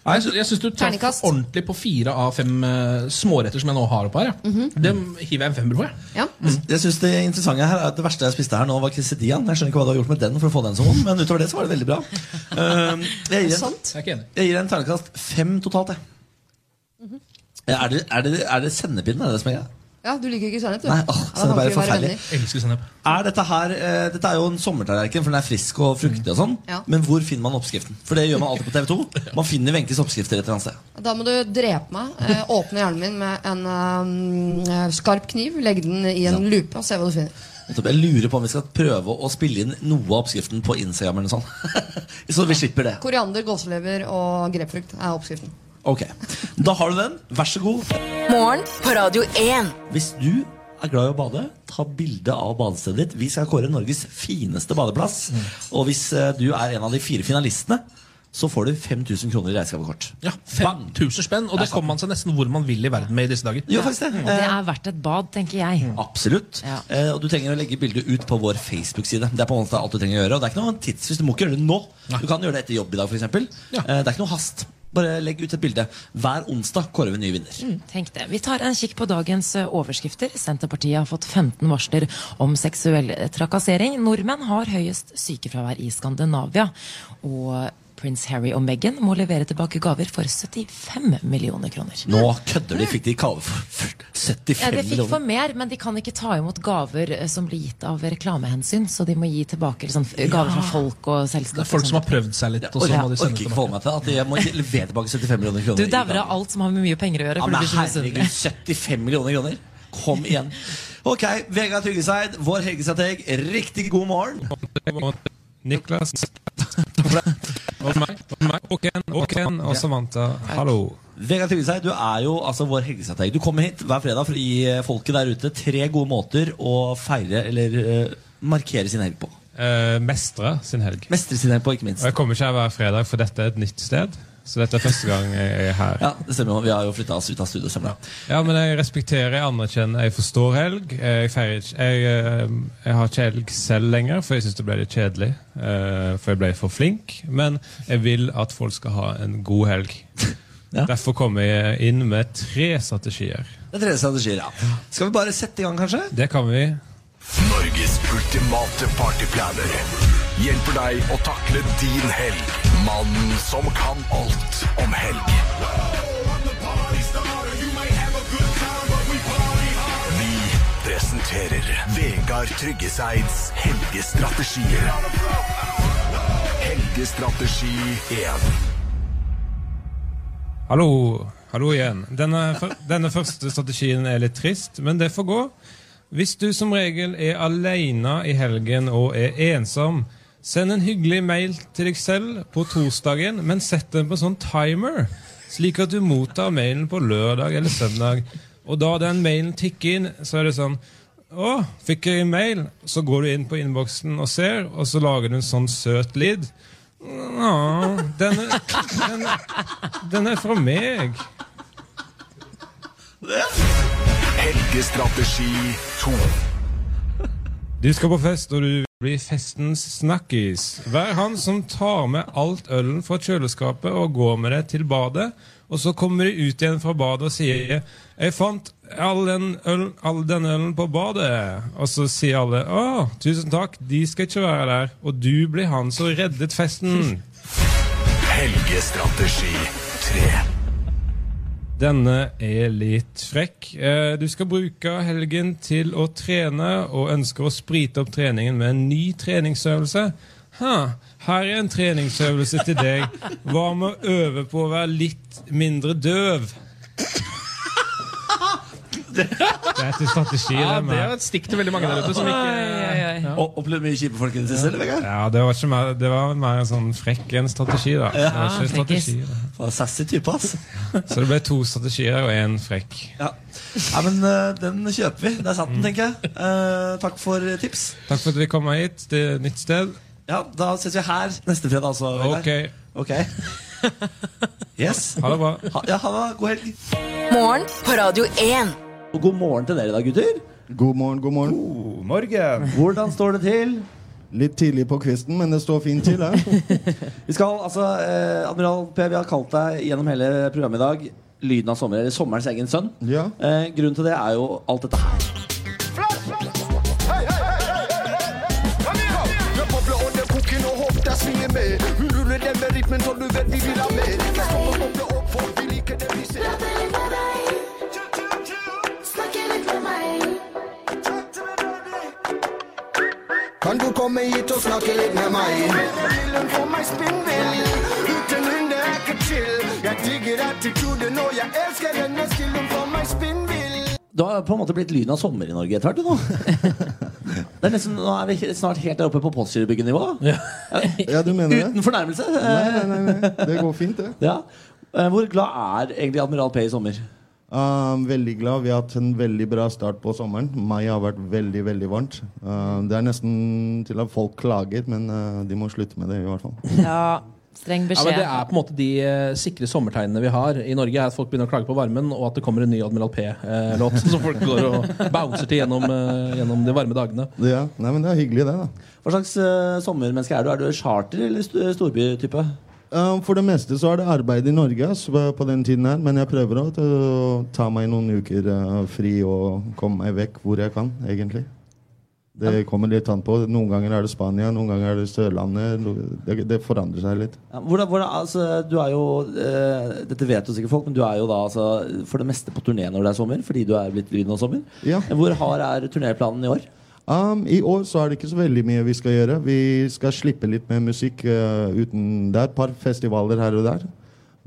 E: Nei, jeg sy- jeg syns du traff
F: Terningkast.
E: ordentlig på fire av fem eh, småretter som jeg nå har oppe her. Ja.
F: Mhm.
E: Dem hiver jeg en femmer på, jeg.
F: Ja.
B: Mm. Jeg synes Det interessante her er at det verste jeg spiste her nå, var quesadillaen. Jeg skjønner ikke hva du har gjort med den for å få den som vond, men utover det så var det veldig bra. Um, jeg gir en,
E: Jeg er ikke enig.
B: Jeg gir en terningkast fem totalt, jeg. Er det, er det, er det sennepinnen? Er det det som er greia?
F: ja, du liker ikke sennep, du?
B: Nei, åh,
F: Ja, da
B: sennep er
F: kan vi være
B: forferdelig.
F: venner.
E: Jeg elsker sennep.
B: Er dette her eh, Dette er jo en sommertallerken, for den er frisk og fruktig og sånn.
F: Ja.
B: Men hvor finner man oppskriften? For det gjør man alltid på TV2. Man finner Wenches oppskrifter et eller annet sted.
F: Da må du drepe meg. Eh, åpne hjernen min med en eh, skarp kniv, legge den i en lupe og se hva du finner.
B: Nettopp. Jeg lurer på om vi skal prøve å spille inn noe av oppskriften på Instagram eller noe sånt. Så vi slipper det.
F: Koriander, gåselever og grepfrukt er oppskriften.
B: Ok. Da har du den. Vær så god.
A: Morgen på Radio 1.
B: Hvis du er glad i å bade, ta bilde av badestedet ditt. Vi skal kåre Norges fineste badeplass.
C: Mm.
B: Og hvis eh, du er en av de fire finalistene, så får du 5000 kroner i reisegavekort.
E: Ja, 5000 spenn, og det kommer man seg nesten hvor man vil i verden med i disse dager.
B: Gjør faktisk det.
C: Og det
B: Eh,
C: er verdt et bad, tenker jeg.
B: Absolutt.
C: Ja.
B: Eh, og du trenger å legge bildet ut på vår Facebook-side. Det er på en måte alt du trenger å gjøre. Og det er ikke noe tids hvis du må ikke gjøre det nå. Du kan gjøre det etter jobb i dag, for eksempel
E: Ja.
B: Eh, det er ikke noe hast. Bare legg ut et bilde. Hver onsdag kårer vi en ny vinner.
C: Tenk det. Vi tar en kikk på dagens eh, overskrifter. Senterpartiet har fått 15 varsler om seksuell eh, trakassering. Nordmenn har høyest sykefravær i Skandinavia. Og prins Harry og Meghan må levere tilbake gaver for 75 millioner kroner.
B: Nå kødder de! Fikk de kave for 75
C: Ja, de fikk for
B: millioner?
C: mer, men de kan ikke ta imot gaver eh, som blir gitt av reklamehensyn. Så de må gi tilbake liksom, f- gaver fra folk og liksom.
E: Det
C: selskap.
E: er folk
C: og
E: som
C: sånt.
E: har prøvd seg litt. Og så må
B: Jeg
E: de
B: orker
E: sende
B: ikke
E: tilbake.
B: forholde meg til at jeg må levere tilbake 75 millioner kroner.
C: Du
B: i
C: dauer
B: gaven.
C: av alt som har med mye penger å gjøre.
B: Ja,
C: For
B: men
C: du blir så
B: herregud,
C: misunnelig.
B: 75 millioner kroner. Kom igjen. Ok, Vegard Tryggeseid, vår helgestrateg, riktig god morgen.
K: Niklas og meg, og meg og Ken, og Ken og Samantha. Hallo.
B: Vegard Tryggeseid, du er jo altså vår helgestrateg. Du kommer hit hver fredag for å gi folket der ute tre gode måter å feire eller eh, markere sin helg på.
K: Eh, mestre sin helg.
B: Mestre sin helg på, ikke minst.
K: Og jeg kommer ikke her hver fredag, for dette er et nytt sted. Så dette er første gang jeg er her.
B: Ja, det stemmer jo. Vi har jo flytta oss ut av studio sammen.
K: Ja, men jeg respekterer, jeg anerkjenner, jeg forstår helg. Jeg feirer ikke Jeg, eh, jeg har ikke helg selv lenger, for jeg syns det ble litt kjedelig. eh, For jeg ble for flink. Men jeg vil at folk skal ha en god helg. Derfor kommer jeg inn med tre strategier.
B: Det er tredje strategier, ja. Skal vi bare sette i gang, kanskje?
K: Det kan vi.
L: Norges ultimate partyplaner hjelper deg å takle din helg. Mannen som kan alt om helg. Vi presenterer Vegard Tryggeseids helgestrategier. Helgestrategi 1.
K: Hallo, hallo igjen. Denne, fyr- denne første strategien er litt trist, men det får gå. Hvis du som regel er alene i helgen og er ensom, send en hyggelig mail til deg selv på torsdagen, men sett den på sånn timer, slik at du mottar mailen på lørdag eller søndag. Og da den mailen tikker inn, så er det sånn å, fikk jeg en mail? Så går du inn på innboksen og ser, og så lager du en sånn søt lyd. Å, den er, den, den er fra meg.
L: Helgestrategi 2.
K: Du skal på fest, og du blir festens snakkis. Vær han som tar med alt ølen fra kjøleskapet og går med det til badet. Og så kommer de ut igjen fra badet og sier 'Jeg fant all den ølen, all den ølen på badet'. Og så sier alle 'Å, tusen takk, de skal ikke være der'. Og du blir han som reddet festen.
L: Helgestrategi 3.
K: Denne er litt frekk. Eh, Du skal bruke helgen til å trene, og ønsker å sprite opp treningen med en ny treningsøvelse. Ha, her er en treningsøvelse til deg. Hva med å øve på å være litt mindre døv?
B: Det
K: er til strategi.
B: Ja,
K: med.
B: det er et stikk til veldig mange der ute som ikke- Oi, oi, oi. Og- opplevd mye kjipe folk i det siste, eller, Vegard?
K: Ja, det var, ikke mer, det var mer en sånn frekk enn strategi, da. Det var ikke en strategi, da.
B: Sassy type, ass.
K: Så det ble to strategier og én frekk.
B: Ja. Nei, men eh, den kjøper vi. Der
M: Mm.
B: satt den, tenker jeg. Eh, takk for tips.
K: Takk for at dere kom hit. Det er et nytt sted.
B: Ja, da ses vi her neste fredag, altså. Vegard. Ok. Yes.
K: Ha det bra.
B: Ha, ja, ha det. God helg.
A: Morgen på Radio 1.
B: Og god morgen til dere i dag, gutter.
M: God morgen, god morgen. God morgen.
B: Hvordan står det til?
M: Litt tidlig på kvisten, men det står fint til. her.
B: Vi skal, altså, eh, Admiral P, vi har kalt deg gjennom hele programmet i dag Lyden av sommer, eller sommerens egen sønn. Eh, grunnen til det er jo alt dette her.
L: Jeg bobler under koken og håper jeg svinger med. Hun ruller den med rytmen som du vet de vil ha med. Jeg kommer boble opp, folk de liker det vi ser. Kan du komme hit og snakke litt med meg? Villen får meg spinnvill. Uten hund er jeg ikke chill. Jeg digger attituden, og jeg elsker denne stilen. Får meg spinnvill.
B: Du har på en måte blitt lyden av sommer i Norge etter hvert, du nå. Det er nesten, nå er vi he- snart helt der oppe på Postgirobyggenivå. Ja.
M: ja, du mener det?
B: Uten fornærmelse.
M: Nei, nei, nei, nei. Det går fint, det.
B: Ja. Eh, Hvor glad er egentlig Admiral P i sommer?
M: Um, veldig glad. Vi har hatt en veldig bra start på sommeren. Mai har vært veldig veldig varmt. Um, det er nesten til at folk klager, men uh, de må slutte med det i hvert fall.
C: Ja, streng
E: Ja,
C: beskjed.
E: men det er på en måte de eh, sikre sommertegnene vi har i Norge. er At folk begynner å klage på varmen, og at det kommer en ny Admiral P-låt. Så folk går og bouncer til gjennom, eh, gjennom de varme dagene.
M: Ja, nei, men Det er hyggelig, det. da
B: Hva slags eh, sommermenneske er du? Er du charter- eller st- storbytype?
M: um, For det meste så er det arbeid i Norge ass, på på den tiden her, men jeg prøver å t- ta meg noen uker uh, fri og komme meg vekk hvor jeg kan, egentlig. Det kommer litt an på. Noen ganger er det Spania, noen ganger er det Sørlandet. no- Det, det forandrer seg litt.
B: Ja, hvordan, hvordan, altså, du er jo, eh, dette vet jo sikkert folk, men du er jo da altså, for det meste på turné når det er sommer. Fordi du er blitt lyden av sommer. Hvor hard er turnéplanen i år?
M: Um, I år så er det ikke så veldig mye vi skal gjøre. Vi skal slippe litt mer musikk eh, uten Det er et par festivaler her og der.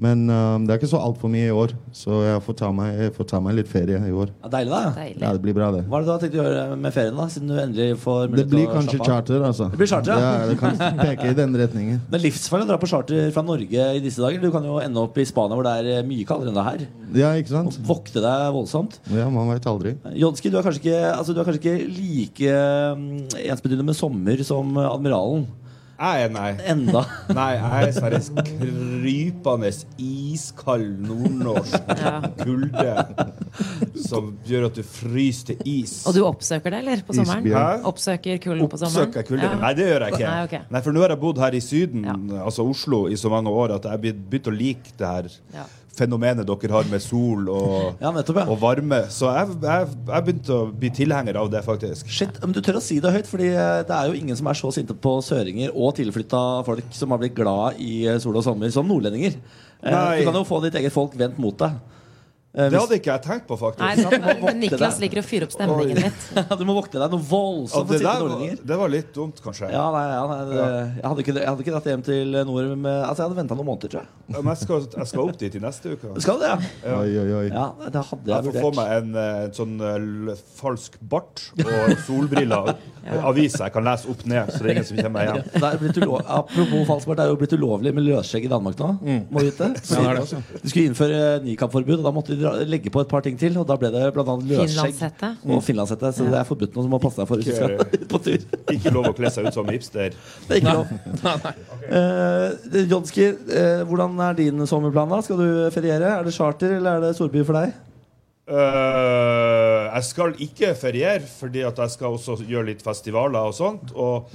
M: Men ehm, det er ikke så altfor mye i år, så jeg får ta meg, jeg får ta meg litt ferie i år.
B: Ja, deilig, da.
M: Ja, det blir bra, det.
B: Hva er det du har tenkt å gjøre med ferien, da? Siden du endelig får
M: Det
B: mulighet til
M: blir
B: å
M: kanskje
B: slappe av?
M: charter, altså.
B: Det blir charter, ja.
M: det kan peke i den retningen.
B: Men livsfarlig å dra på charter fra Norge i disse dager. Du kan jo ende opp i Spania, hvor det er eh, mye kaldere enn det er her.
M: Ja, ikke sant?
B: Og vokte deg voldsomt.
M: Ja, man veit aldri.
B: Jonski, du er kanskje ikke, altså, du er kanskje ikke like mm, ensbetydende med sommer som eh, Admiralen.
N: Nei, nei.
B: Enda.
N: Nei, jeg er seriøst krypende iskald nordnorsk kulde som gjør at du fryser til is.
C: Og du oppsøker det, eller? På sommeren?
N: Isbjørn.
C: Oppsøker kulden på sommeren?
N: Oppsøker kulde.
C: Ja.
N: Nei, det gjør jeg ikke.
C: Nei, ok.
N: Nei, For nå har jeg bodd her i Syden, altså Oslo, i så mange år at jeg har begynt- begynt å like det her
C: Ja.
N: fenomenet dere har med sol og, og varme. Så jeg, jeg, jeg begynte å bli tilhenger av det, faktisk.
B: Shit, men Du tør å si det høyt, Fordi eh, det er jo ingen som er så sinte på søringer og tilflytta folk som har blitt glad i eh, sol og sommer, som nordlendinger. Eh,
N: Nei.
B: Du kan jo få ditt eget folk vendt mot deg. Eh,
N: Det hadde ikke jeg tenkt på, faktisk.
C: Nei, sant? Men Niklas liker å fyre opp stemningen litt.
B: Du må vokte deg noe
N: Ja,
B: voldsomt for
N: det,
B: sinte
N: der,
B: nordlendinger.
N: var- det var litt dumt, kanskje.
B: Sånn Ja, nei, ja, nei, det, jeg, hadde ikke, jeg hadde ikke dratt hjem til nord med, Altså, jeg hadde venta noen måneder, tror jeg.
N: Ja, Men jeg skal, jeg skal opp dit i neste uke.
B: Skal du det?
N: Ja.
M: Oi, oi, oi.
B: Ja, det hadde jeg
N: Jeg får få
B: vurdert.
N: meg en, eh, en sånn eh, l- falsk bart og solbriller. og Avis jeg kan lese opp ned, så det er ingen som kommer hjem.
B: Det er blitt ulov, apropos falskbart, det er jo blitt ulovlig med løsskjegg i Danmark nå. Må vite.
N: Mm. Ja, det er det.
B: De skulle innføre nikabforbud, og da måtte de dra- legge på et par ting til. Og da ble det bl.a. løsskjegg
C: Finlandshette.
B: og finlandshette. Så det er forbudt nå, så du må passe deg for hvis du skal på tur.
N: Ikke lov å kle seg ut som hipster.
B: Det er ikke lov. Eh, Jonski, eh, hvordan er din sommerplan? da? Skal du feriere? Er det charter eller er det storby for deg?
N: Eh, jeg skal ikke feriere, fordi at jeg skal også gjøre litt festivaler og sånt. Og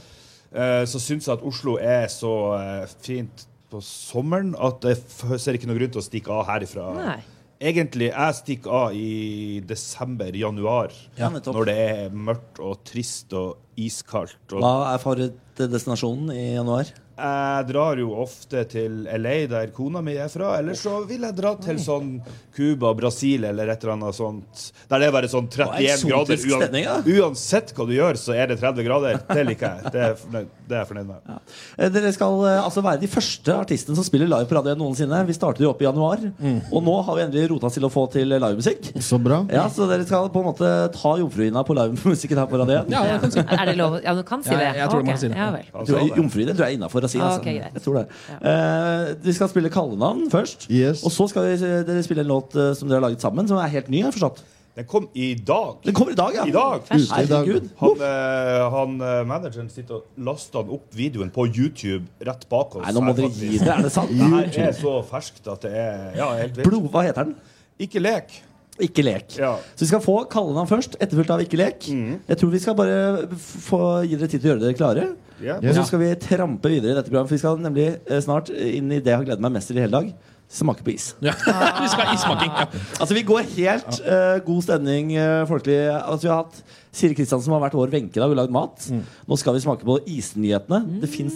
N: eh, så syns jeg at Oslo er så eh, fint på sommeren at jeg f- ser ikke noen grunn til å stikke av herifra.
C: Nei.
N: Egentlig, jeg stikker av i desember-januar,
B: Ja, nettopp.
N: når det er mørkt og trist og iskaldt. Og
B: Hva er favorittdestinasjonen i januar?
N: jeg drar jo ofte til LA, der kona mi er fra. Eller så vil jeg dra til sånn Cuba, Brasil eller et eller annet sånt. Der det er bare sånn
B: Hva er
N: 31
B: eksotisk
N: grader.
B: stemning, da?
N: uansett hva du gjør, så er det 30 grader. Det liker jeg. Det er, jeg fornøyd- det er jeg fornøyd med.
B: Eh, Dere skal eh, altså være de første artistene som spiller live på radioen noensinne. Vi startet jo opp i januar,
N: Mm.
B: og nå har vi endelig rota oss til å få til livemusikk.
M: Så bra.
B: Ja, så dere skal på en måte ta jomfruhinna på livemusikken her på radioen?
C: Ja, Er det lov? Ja, du kan si
B: Ja,
C: det.
B: jeg- jeg tror
C: Ok,
B: man sier det.
C: Ja, vel.
N: sånn
B: Du er jomfruhinne, du er innafor å si
C: Ah,
B: altså.
C: ok, greit.
B: Jeg tror det. Eh, vi skal spille kallenavn først, og så skal vi, dere spille en låt eh, som dere har laget sammen, som er helt ny. har jeg forstått
N: Den kom i dag.
B: Den kommer i dag, ja.
N: I dag.
B: Fersk. Herregud.
N: Han, eh, han eh, manageren sitter og laster han opp videoen på YouTube rett bak oss.
B: Nei, nå må
N: her,
B: dere
N: faktisk.
B: gi dere, er det sant?
N: Det her
B: YouTube.
N: er så ferskt at det er Eh, ja, helt vilt.
B: Blod, hva heter den?
N: Ikke lek.
B: Ikke lek. Så vi skal få kallenavn først, etterfulgt av ikke lek.
N: Mm.
B: Jeg tror vi skal bare f- få gi dere tid til å gjøre dere klare.
N: Ja.
B: Og så skal vi trampe videre i dette programmet, for vi skal nemlig eh, snart inn i det jeg har gledet meg mest til i hele dag. Smake på is.
O: Vi skal ha issmaking.
B: Altså Vi går helt eh, god stemning, eh, folkelig. Altså Vi har hatt Siri Kristiansen, som har vært vår Wenche i dag og lagd mat. Nå skal vi smake på isnyhetene. Det finnes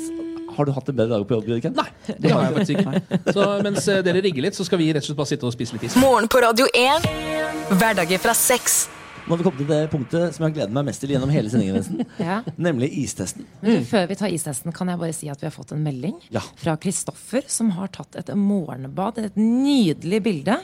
B: Har du hatt en bedre dag på jobb, Jørgen? Nei.
P: Det har jeg faktisk ikke. Så mens eh, dere rigger litt, så skal vi rett og slett bare sitte og spise litt is.
A: Morgen på Radio 1. Hverdager fra seks.
B: Nå har vi kommet til det punktet som jeg har gledet meg mest til gjennom hele sendingen. nesten.
C: Ja.
B: Nemlig istesten.
C: Men du, før vi tar istesten, kan jeg bare si at vi har fått en melding fra Kristoffer, som har tatt et morgenbad. Et nydelig bilde.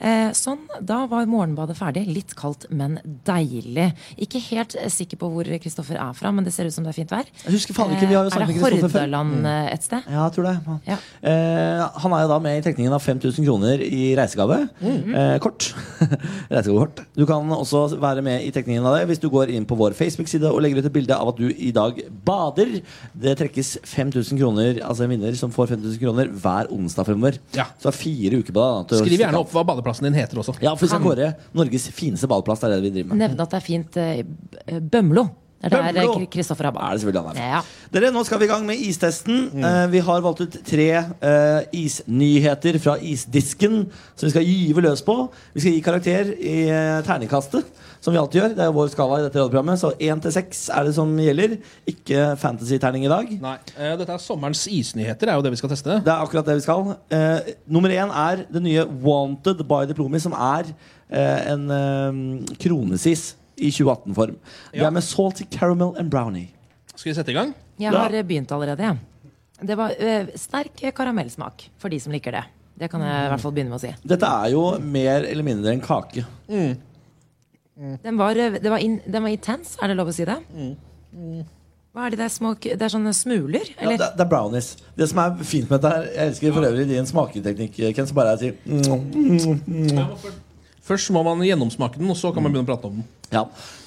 C: Eh, sånn, Da var morgenbadet ferdig. Litt kaldt, men deilig. Ikke helt eh, sikker på hvor Kristoffer er fra, men det ser ut som det er fint vær.
B: Jeg husker faen ikke, vi har jo
C: Eh,
B: snakket med
C: Er det
B: Kristoffer før.
C: Hordaland
B: Mm.
C: eh, et sted?
B: Ja, jeg tror det. Eh, han er jo da med i trekningen av 5000 kroner i reisegave.
C: Mhm.
B: Eh, kort. Reisegavekort. Du kan også være med i trekningen av det hvis du går inn på vår Facebook-side og legger ut et bilde av at du i dag bader. Det trekkes 5000 kroner, altså en vinner som får 5000 kroner hver onsdag fremover. Så det er fire uker på deg. da, til å-
P: Skriv gjerne opp hva badeplassen din heter også.
B: Ja, for vi skal
P: Kan-
B: kåre Norges fineste badeplass. Det er det vi driver med.
C: Nevne at det er fint eh, i B- eh, Bømlo. Det er der eh,
B: Bømlo.
C: Kristoffer har bad.
B: Er det selvfølgelig han er fra.
C: Ja.
B: Dere, Nå skal vi i gang med istesten. Eh, vi har valgt ut tre eh, isnyheter fra isdisken som vi skal gyve løs på. Vi skal gi karakter i eh, terningkastet, som vi alltid gjør. Det er jo vår skala i dette radioprogrammet, så én til seks er det som gjelder. Ikke fantasy-terning i dag.
P: Nei, eh, dette er sommerens isnyheter, er jo det vi skal teste.
B: Det er akkurat det vi skal. Eh, nummer én er det nye Wanted by Diplomi, som er eh, en eh, kronesis i 2018-form. Det er med salty caramel and brownie.
P: Skal vi sette i gang?
C: Jeg har eh, begynt allerede. jeg. Det var eh, sterk eh, karamellsmak for de som liker det. Det kan jeg i hvert fall begynne med å si.
B: Dette er jo mer eller mindre en kake.
C: Den var, eh, det var in, den var intens, er det lov å si det? Hva er det der små k- Det er sånne smuler?
B: Ja,
C: Eller?
B: det, det er brownies. Det som er fint med dette her Jeg elsker for øvrig din smaketeknikk, eh, Ken, som bare mm, er å si
E: Først må man gjennomsmake den, og så kan man begynne å prate om den.
B: Ja.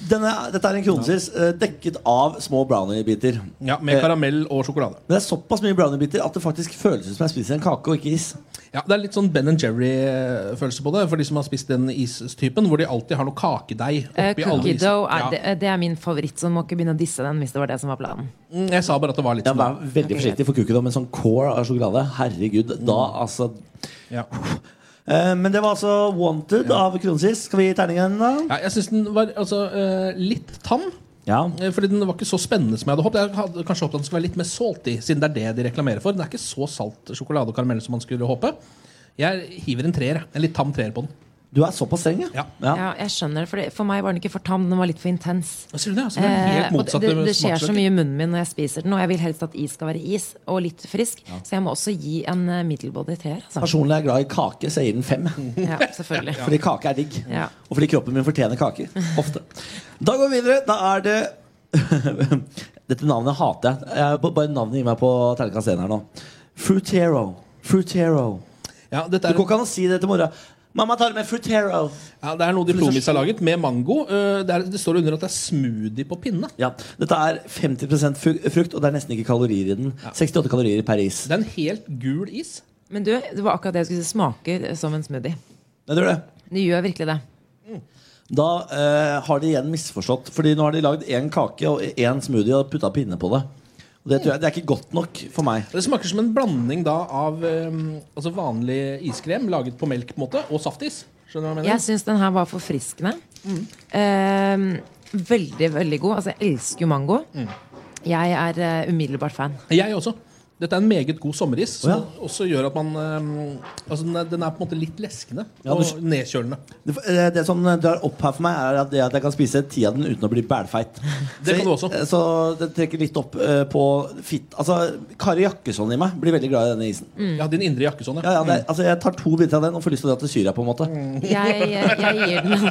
B: Denne, dette er en kronesis eh, dekket av små browniebiter.
E: Ja,
P: Eh.
E: med karamell
B: og sjokolade. Det er såpass mye browniebiter at det faktisk føles ut som jeg spiser en kake og ikke is.
E: Ja, Det er litt sånn Ben Jerry-følelse på det, for de som har spist den istypen hvor de alltid har noe kakedeig
C: Eh,
E: oppi alle
C: Cookie
E: isene.
C: dough er,
E: Ja.
C: det, eh, det er min favoritt, så du må ikke begynne å disse den hvis det var det som var planen.
E: Mm, Jeg sa bare at det var litt
B: Ja, vær veldig forsiktig for kukken om en sånn core av sjokolade. Herregud, da altså
E: Ja.
B: Eh, Men det var altså Wanted av Kronesis. Skal vi gi terningen, da?
E: Ja, jeg syns den var altså, eh, litt tam.
B: Ja.
E: Eh, Fordi den var ikke så spennende som jeg hadde håpet. Jeg hadde kanskje håpet at den skulle være litt mer salty, siden det er det de reklamerer for. Den er ikke så salt sjokolade og karamell som man skulle håpe. Jeg hiver en treer. jeg. En litt tam treer på den.
B: Du er såpass streng,
E: ja?
C: Ja. jeg skjønner det, for, det, for meg var den ikke for tam, den var litt for intens.
E: Ser du det? Altså, det er helt
C: Eh, og
E: motsatt
C: det, det, det skjer
E: smaksløk.
C: så mye i munnen min når jeg spiser den, og jeg vil helst at is skal være is, og litt frisk. Så jeg må også gi en uh, middelbody treer. Altså.
B: Personlig er jeg glad i kake, så jeg gir den fem.
C: Ja, selvfølgelig.
B: Fordi kake er digg.
C: Ja.
B: Og fordi kroppen min fortjener kaker. Ofte. Da går vi videre. Da er det Dette navnet hater jeg. jeg. b- Bare navnet gir meg på terningkast én her nå. Frutero. Frutero. Du går ikke an å si det til mora. Mamma tar med Frutero.
E: Ja, Det er noe Diplomis har laget, med mango. Eh, Det, er, det står under at det er smoothie på pinne.
B: Ja, Dette er 50 fru- frukt, og det er nesten ikke kalorier i den. 68 kalorier per is.
E: Det er en helt gul is.
C: Men du, det var akkurat det jeg skulle si. Smaker som en smoothie.
B: Ja, det gjør det.
C: Det gjør virkelig det.
B: Da eh, har de igjen misforstått. Fordi nå har de lagd én kake og én smoothie og putta pinne på det. Og det, tror jeg, det er ikke godt nok for meg.
E: Det smaker som en blanding da av eh, altså vanlig iskrem laget på melk på en måte, og saftis. Skjønner du hva jeg mener?
C: Jeg syns den her var forfriskende. Eh, veldig, veldig god. Altså, jeg elsker jo mango.
E: Mm.
C: Jeg er eh, umiddelbart fan.
E: Jeg også. Dette er en meget god sommeris, som
C: Å,
E: også gjør at man eh, altså den, er, den er på en måte litt leskende
B: Ja,
E: og
B: du-
E: nedkjølende.
B: Det, eh, det som drar opp her for meg, er at, det at jeg kan spise ti av den uten å bli bælfeit.
E: Det kan du
B: også. Så det trekker litt opp eh, på fitt Altså, Kari Jakkesson i meg blir veldig glad i denne isen.
I: Mm.
C: Mm.
E: Ja, din indre jakkesone.
B: Ja, ja, det, er- altså, jeg tar to biter av den og får lyst til å dra til Syria, på en måte.
C: Mm. Jeg, jeg, gir, den,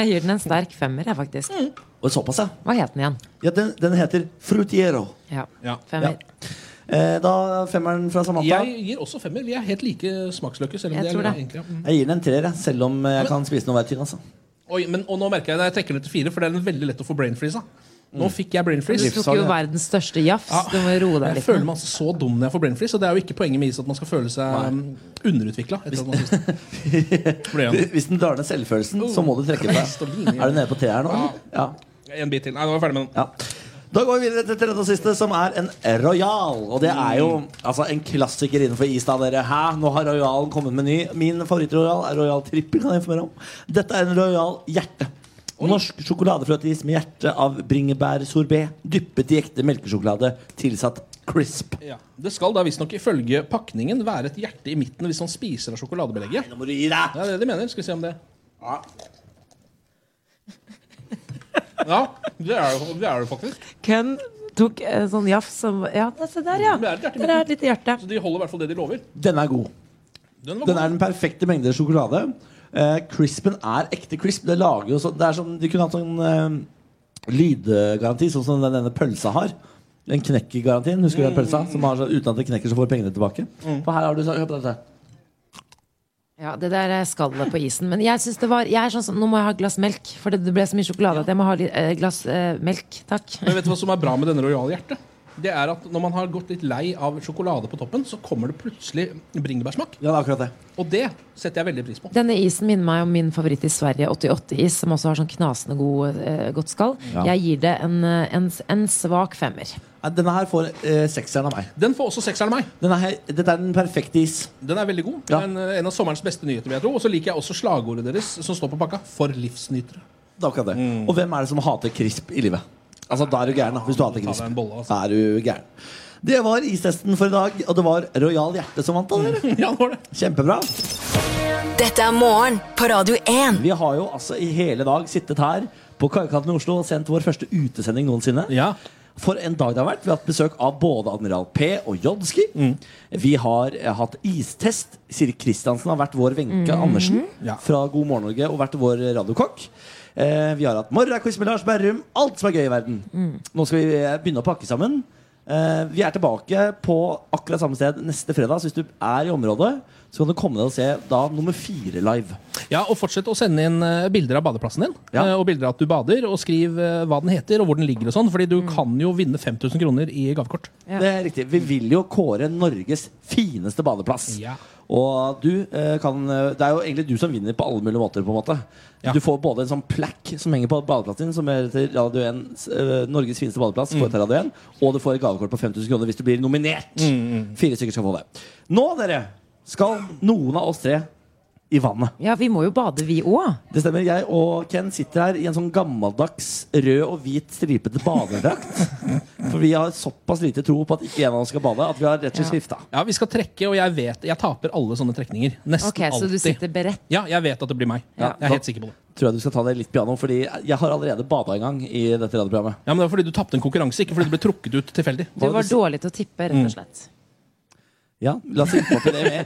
C: jeg gir den en sterk femmer, jeg, faktisk.
E: Mm.
B: Og såpass, ja.
C: Hva het den igjen?
B: Ja, Den, den heter Frutiero.
C: Ja.
E: Ja.
C: Femmer.
B: Eh, da femmeren fra Samantha.
E: Jeg gir også femmer. Vi er helt like smaksløker. Selv om
C: Jeg
E: det er
C: tror det.
E: egentlig- Mm.
B: Jeg gir den en treer, jeg, selv om jeg kan spise den og være tynn. altså
E: Oi, men, og nå merker jeg at jeg trekker ned til fire, for det er veldig lett å få brain freeze av. Nå fikk jeg brain
C: Du
E: freeze.
C: tok jo verdens største jafs. Du må roe deg
E: Jeg
C: litt.
E: føler meg altså så dum når jeg får brain freeze, og det er jo ikke poenget med is at man skal føle seg um, underutvikla.
B: Hvis den drar ned selvfølelsen, så må du trekke deg. Er du nede på treeren nå? Ja.
E: En bit til. Nei, nå er jeg ferdig med den.
B: Da går vi videre til tredje og siste, som er en Royal. Og det er jo altså, en klassiker innenfor is. da, dere. Hæ? Nå har Royalen kommet med ny. Min favoritt-Royal er Royal Trippel. kan jeg informere om. Dette er en Royal Hjerte. Norsk sjokoladefløteis med hjerte av bringebærsorbé dyppet i ekte melkesjokolade tilsatt crisp.
E: Ja. Det skal da visstnok ifølge pakningen være et hjerte i midten hvis man spiser av sjokoladebelegget.
B: Nå må du gi deg!
E: Ja, det er det de mener. Skal vi se om det Ja, det er det, det, er det faktisk.
C: Ken tok en sånn jafs som Ja, det- se der, ja.
E: Mm. Det er et hjerte i
C: Der er et
E: midten.
C: lite hjerte.
E: Så de holder i hvert fall det de lover.
B: Den er god.
E: Den var
B: Den er den perfekte mengde sjokolade. Eh, crispen er ekte crisp. Det lager jo så, det er som, De kunne hatt sånn eh, lydgaranti, sånn som den, denne pølsa har. Den knekkergarantien. Husker du den pølsa? Som har så, uten at det knekker, så får du pengene tilbake. Og her har du så, Hør på dette.
C: Ja, Det der er skallet på isen. Men jeg synes det var jeg er sånn, som- nå må jeg ha et glass melk. For det det ble så mye sjokolade at jeg må ha litt eh, glass eh, melk. Takk.
E: Men vet du hva som er bra med denne Royal Hjerte? Det er at Når man har gått litt lei av sjokolade på toppen, så kommer det plutselig bringebærsmak.
B: Ja, det er akkurat det.
E: Og det setter jeg veldig pris på.
C: Denne isen minner meg om min favoritt i Sverige, 88-is, som også har sånn knasende god, eh, godt skall.
B: Ja.
C: Jeg gir det en, eh, en, en svak femmer.
B: Nei, Denne her får eh, sekseren av meg.
E: Den får også sekseren av meg.
B: Den er, he- dette er den perfekte is.
E: Den er veldig god.
B: Ja.
E: Den er en av sommerens beste nyheter. vil jeg tro. Og så liker jeg også slagordet deres som står på pakka. For livsnytere.
B: Det er akkurat det.
E: Mm.
B: Og hvem er det som hater crisp i livet? Altså, Da er du gæren. da, hvis du hater
E: Ta deg
B: crisp.
E: en bolle, altså.
B: Da er du gæren. Det var istesten for i dag, og det var Royal Hjerte som vant. da, dere. Kjempebra.
Q: Dette er morgen på Radio 1.
B: Vi har jo altså i hele dag sittet her på Kaikanten i Oslo og sendt vår første utesending noensinne. For en dag det har vært. Vi har hatt besøk av både Admiral P og Jodski. Vi har eh, hatt istest. Siri Kristiansen har vært vår Wenche
R: Mhm.
B: Andersen fra God morgen Norge og vært vår radiokokk. Eh, vi har hatt morgenquiz med Lars Berrum. Alt som er gøy i verden. Nå skal vi eh, begynne å pakke sammen. Eh, vi er tilbake på akkurat samme sted neste fredag. Så hvis du er i området, så kan du komme deg og se da nummer fire live.
E: Ja, og fortsett å sende inn eh, bilder av badeplassen din. eh, Og bilder av at du bader, og skriv eh, hva den heter og hvor den ligger og sånn. Fordi du kan jo vinne 5000 kroner i gavekort.
B: Det er riktig. Vi vil jo kåre Norges fineste badeplass.
E: Ja.
B: Og du eh, kan Det er jo egentlig du som vinner på alle mulige måter. på en måte Du får både en sånn plakk som henger på badeplassen din, som er til Radio 1, eh, Norges fineste badeplass, får til Radio 1, og du får et gavekort på 5000 kroner hvis du blir nominert. Fire stykker skal få det. Nå, dere, skal noen av oss tre i vannet.
C: Ja, vi må jo bade, vi òg.
B: Det stemmer. Jeg og Ken sitter her i en sånn gammeldags rød og hvit stripete badedrakt. For vi har såpass lite tro på at ikke en av oss skal bade, at vi har rett og slett skifta.
E: Ja, vi skal trekke, og jeg vet Jeg taper alle sånne trekninger. Nesten
C: Ok, Så du
E: alltid.
C: sitter beredt?
E: Ja, jeg vet at det blir meg.
B: Ja.
E: Jeg er helt sikker på det.
B: Tror jeg du skal ta det litt piano, fordi jeg har allerede bada en gang i dette radioprogrammet.
E: Ja, men Det var fordi du tapte en konkurranse, ikke fordi du ble trukket ut tilfeldig.
C: Du var dårlig til å tippe,
B: Mm.
C: rett og slett.
B: Ja, la oss ikke opp i det mer.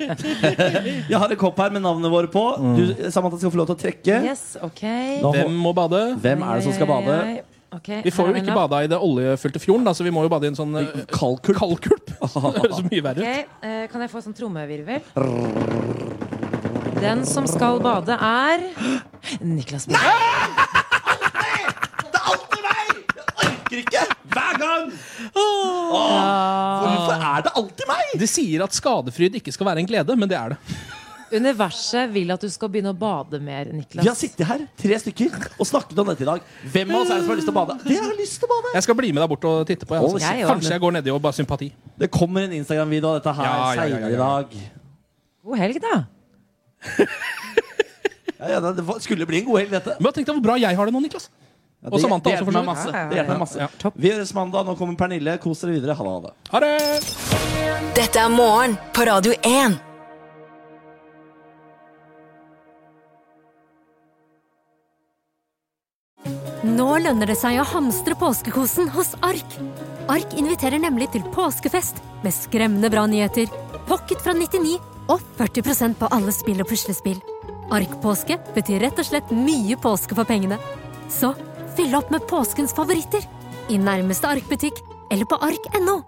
B: Jeg har en kopp her med navnene våre på. Du, Samantha skal få lov til å trekke.
C: Yes, ok
B: Nå-
E: Hvem må bade?
B: Hvem er det som skal bade?
C: Ai, ai, ai. Ok,
E: Vi får
C: her
E: jo
C: er
E: ikke
C: den da.
E: bada i det oljefylte fjorden, da, så vi må jo bade i en sånn eh,
B: kaldkulp.
E: Det høres mye verre ut.
C: Ok, eh, Kan jeg få sånn trommevirvel? Den som skal bade, er Niklas Bae.
B: Orker ikke! Hver gang!
E: Hvorfor
B: er det alltid meg?
E: De sier at skadefryd ikke skal være en glede, men det er det.
C: Universet vil at du skal begynne å bade mer, Niklas.
B: Vi har sittet her, tre stykker, og snakket om dette i dag. Hvem av oss er det som har lyst til å bade? Det har jeg lyst til å bade!
E: Jeg skal bli med deg bort og titte på. Jeg,
B: Å,
E: altså.
B: jeg også.
E: Kanskje jeg går nedi og bare sympati.
B: Det kommer en Instagram-video av dette her
E: Ja, ja, ja,
B: senere
E: ja,
B: i
E: ja.
B: dag.
C: God helg, da.
B: Ja, ja, det var- skulle bli en god helg, dette.
E: Men tenk deg hvor bra jeg har det nå, Niklas.
B: Ja,
E: Og
B: det-
E: Samantha
B: det
E: også,
B: hjelper
E: for så
B: meg masse.
E: vidt.
B: Det hjelper meg masse. Vi høres mandag. Nå kommer Pernille. Kos dere videre. Ha det, ha det.
E: Ha det!
O: Dette er morgen på Radio 1.
S: Nå lønner det seg å hamstre påskekosen hos Ark. Ark inviterer nemlig til påskefest med skremmende bra nyheter, pocket fra 99 og 40 på alle spill og puslespill. Ark-påske betyr rett og slett mye påske for pengene. Så fyll opp med påskens favoritter i nærmeste Ark-butikk eller på ark.no.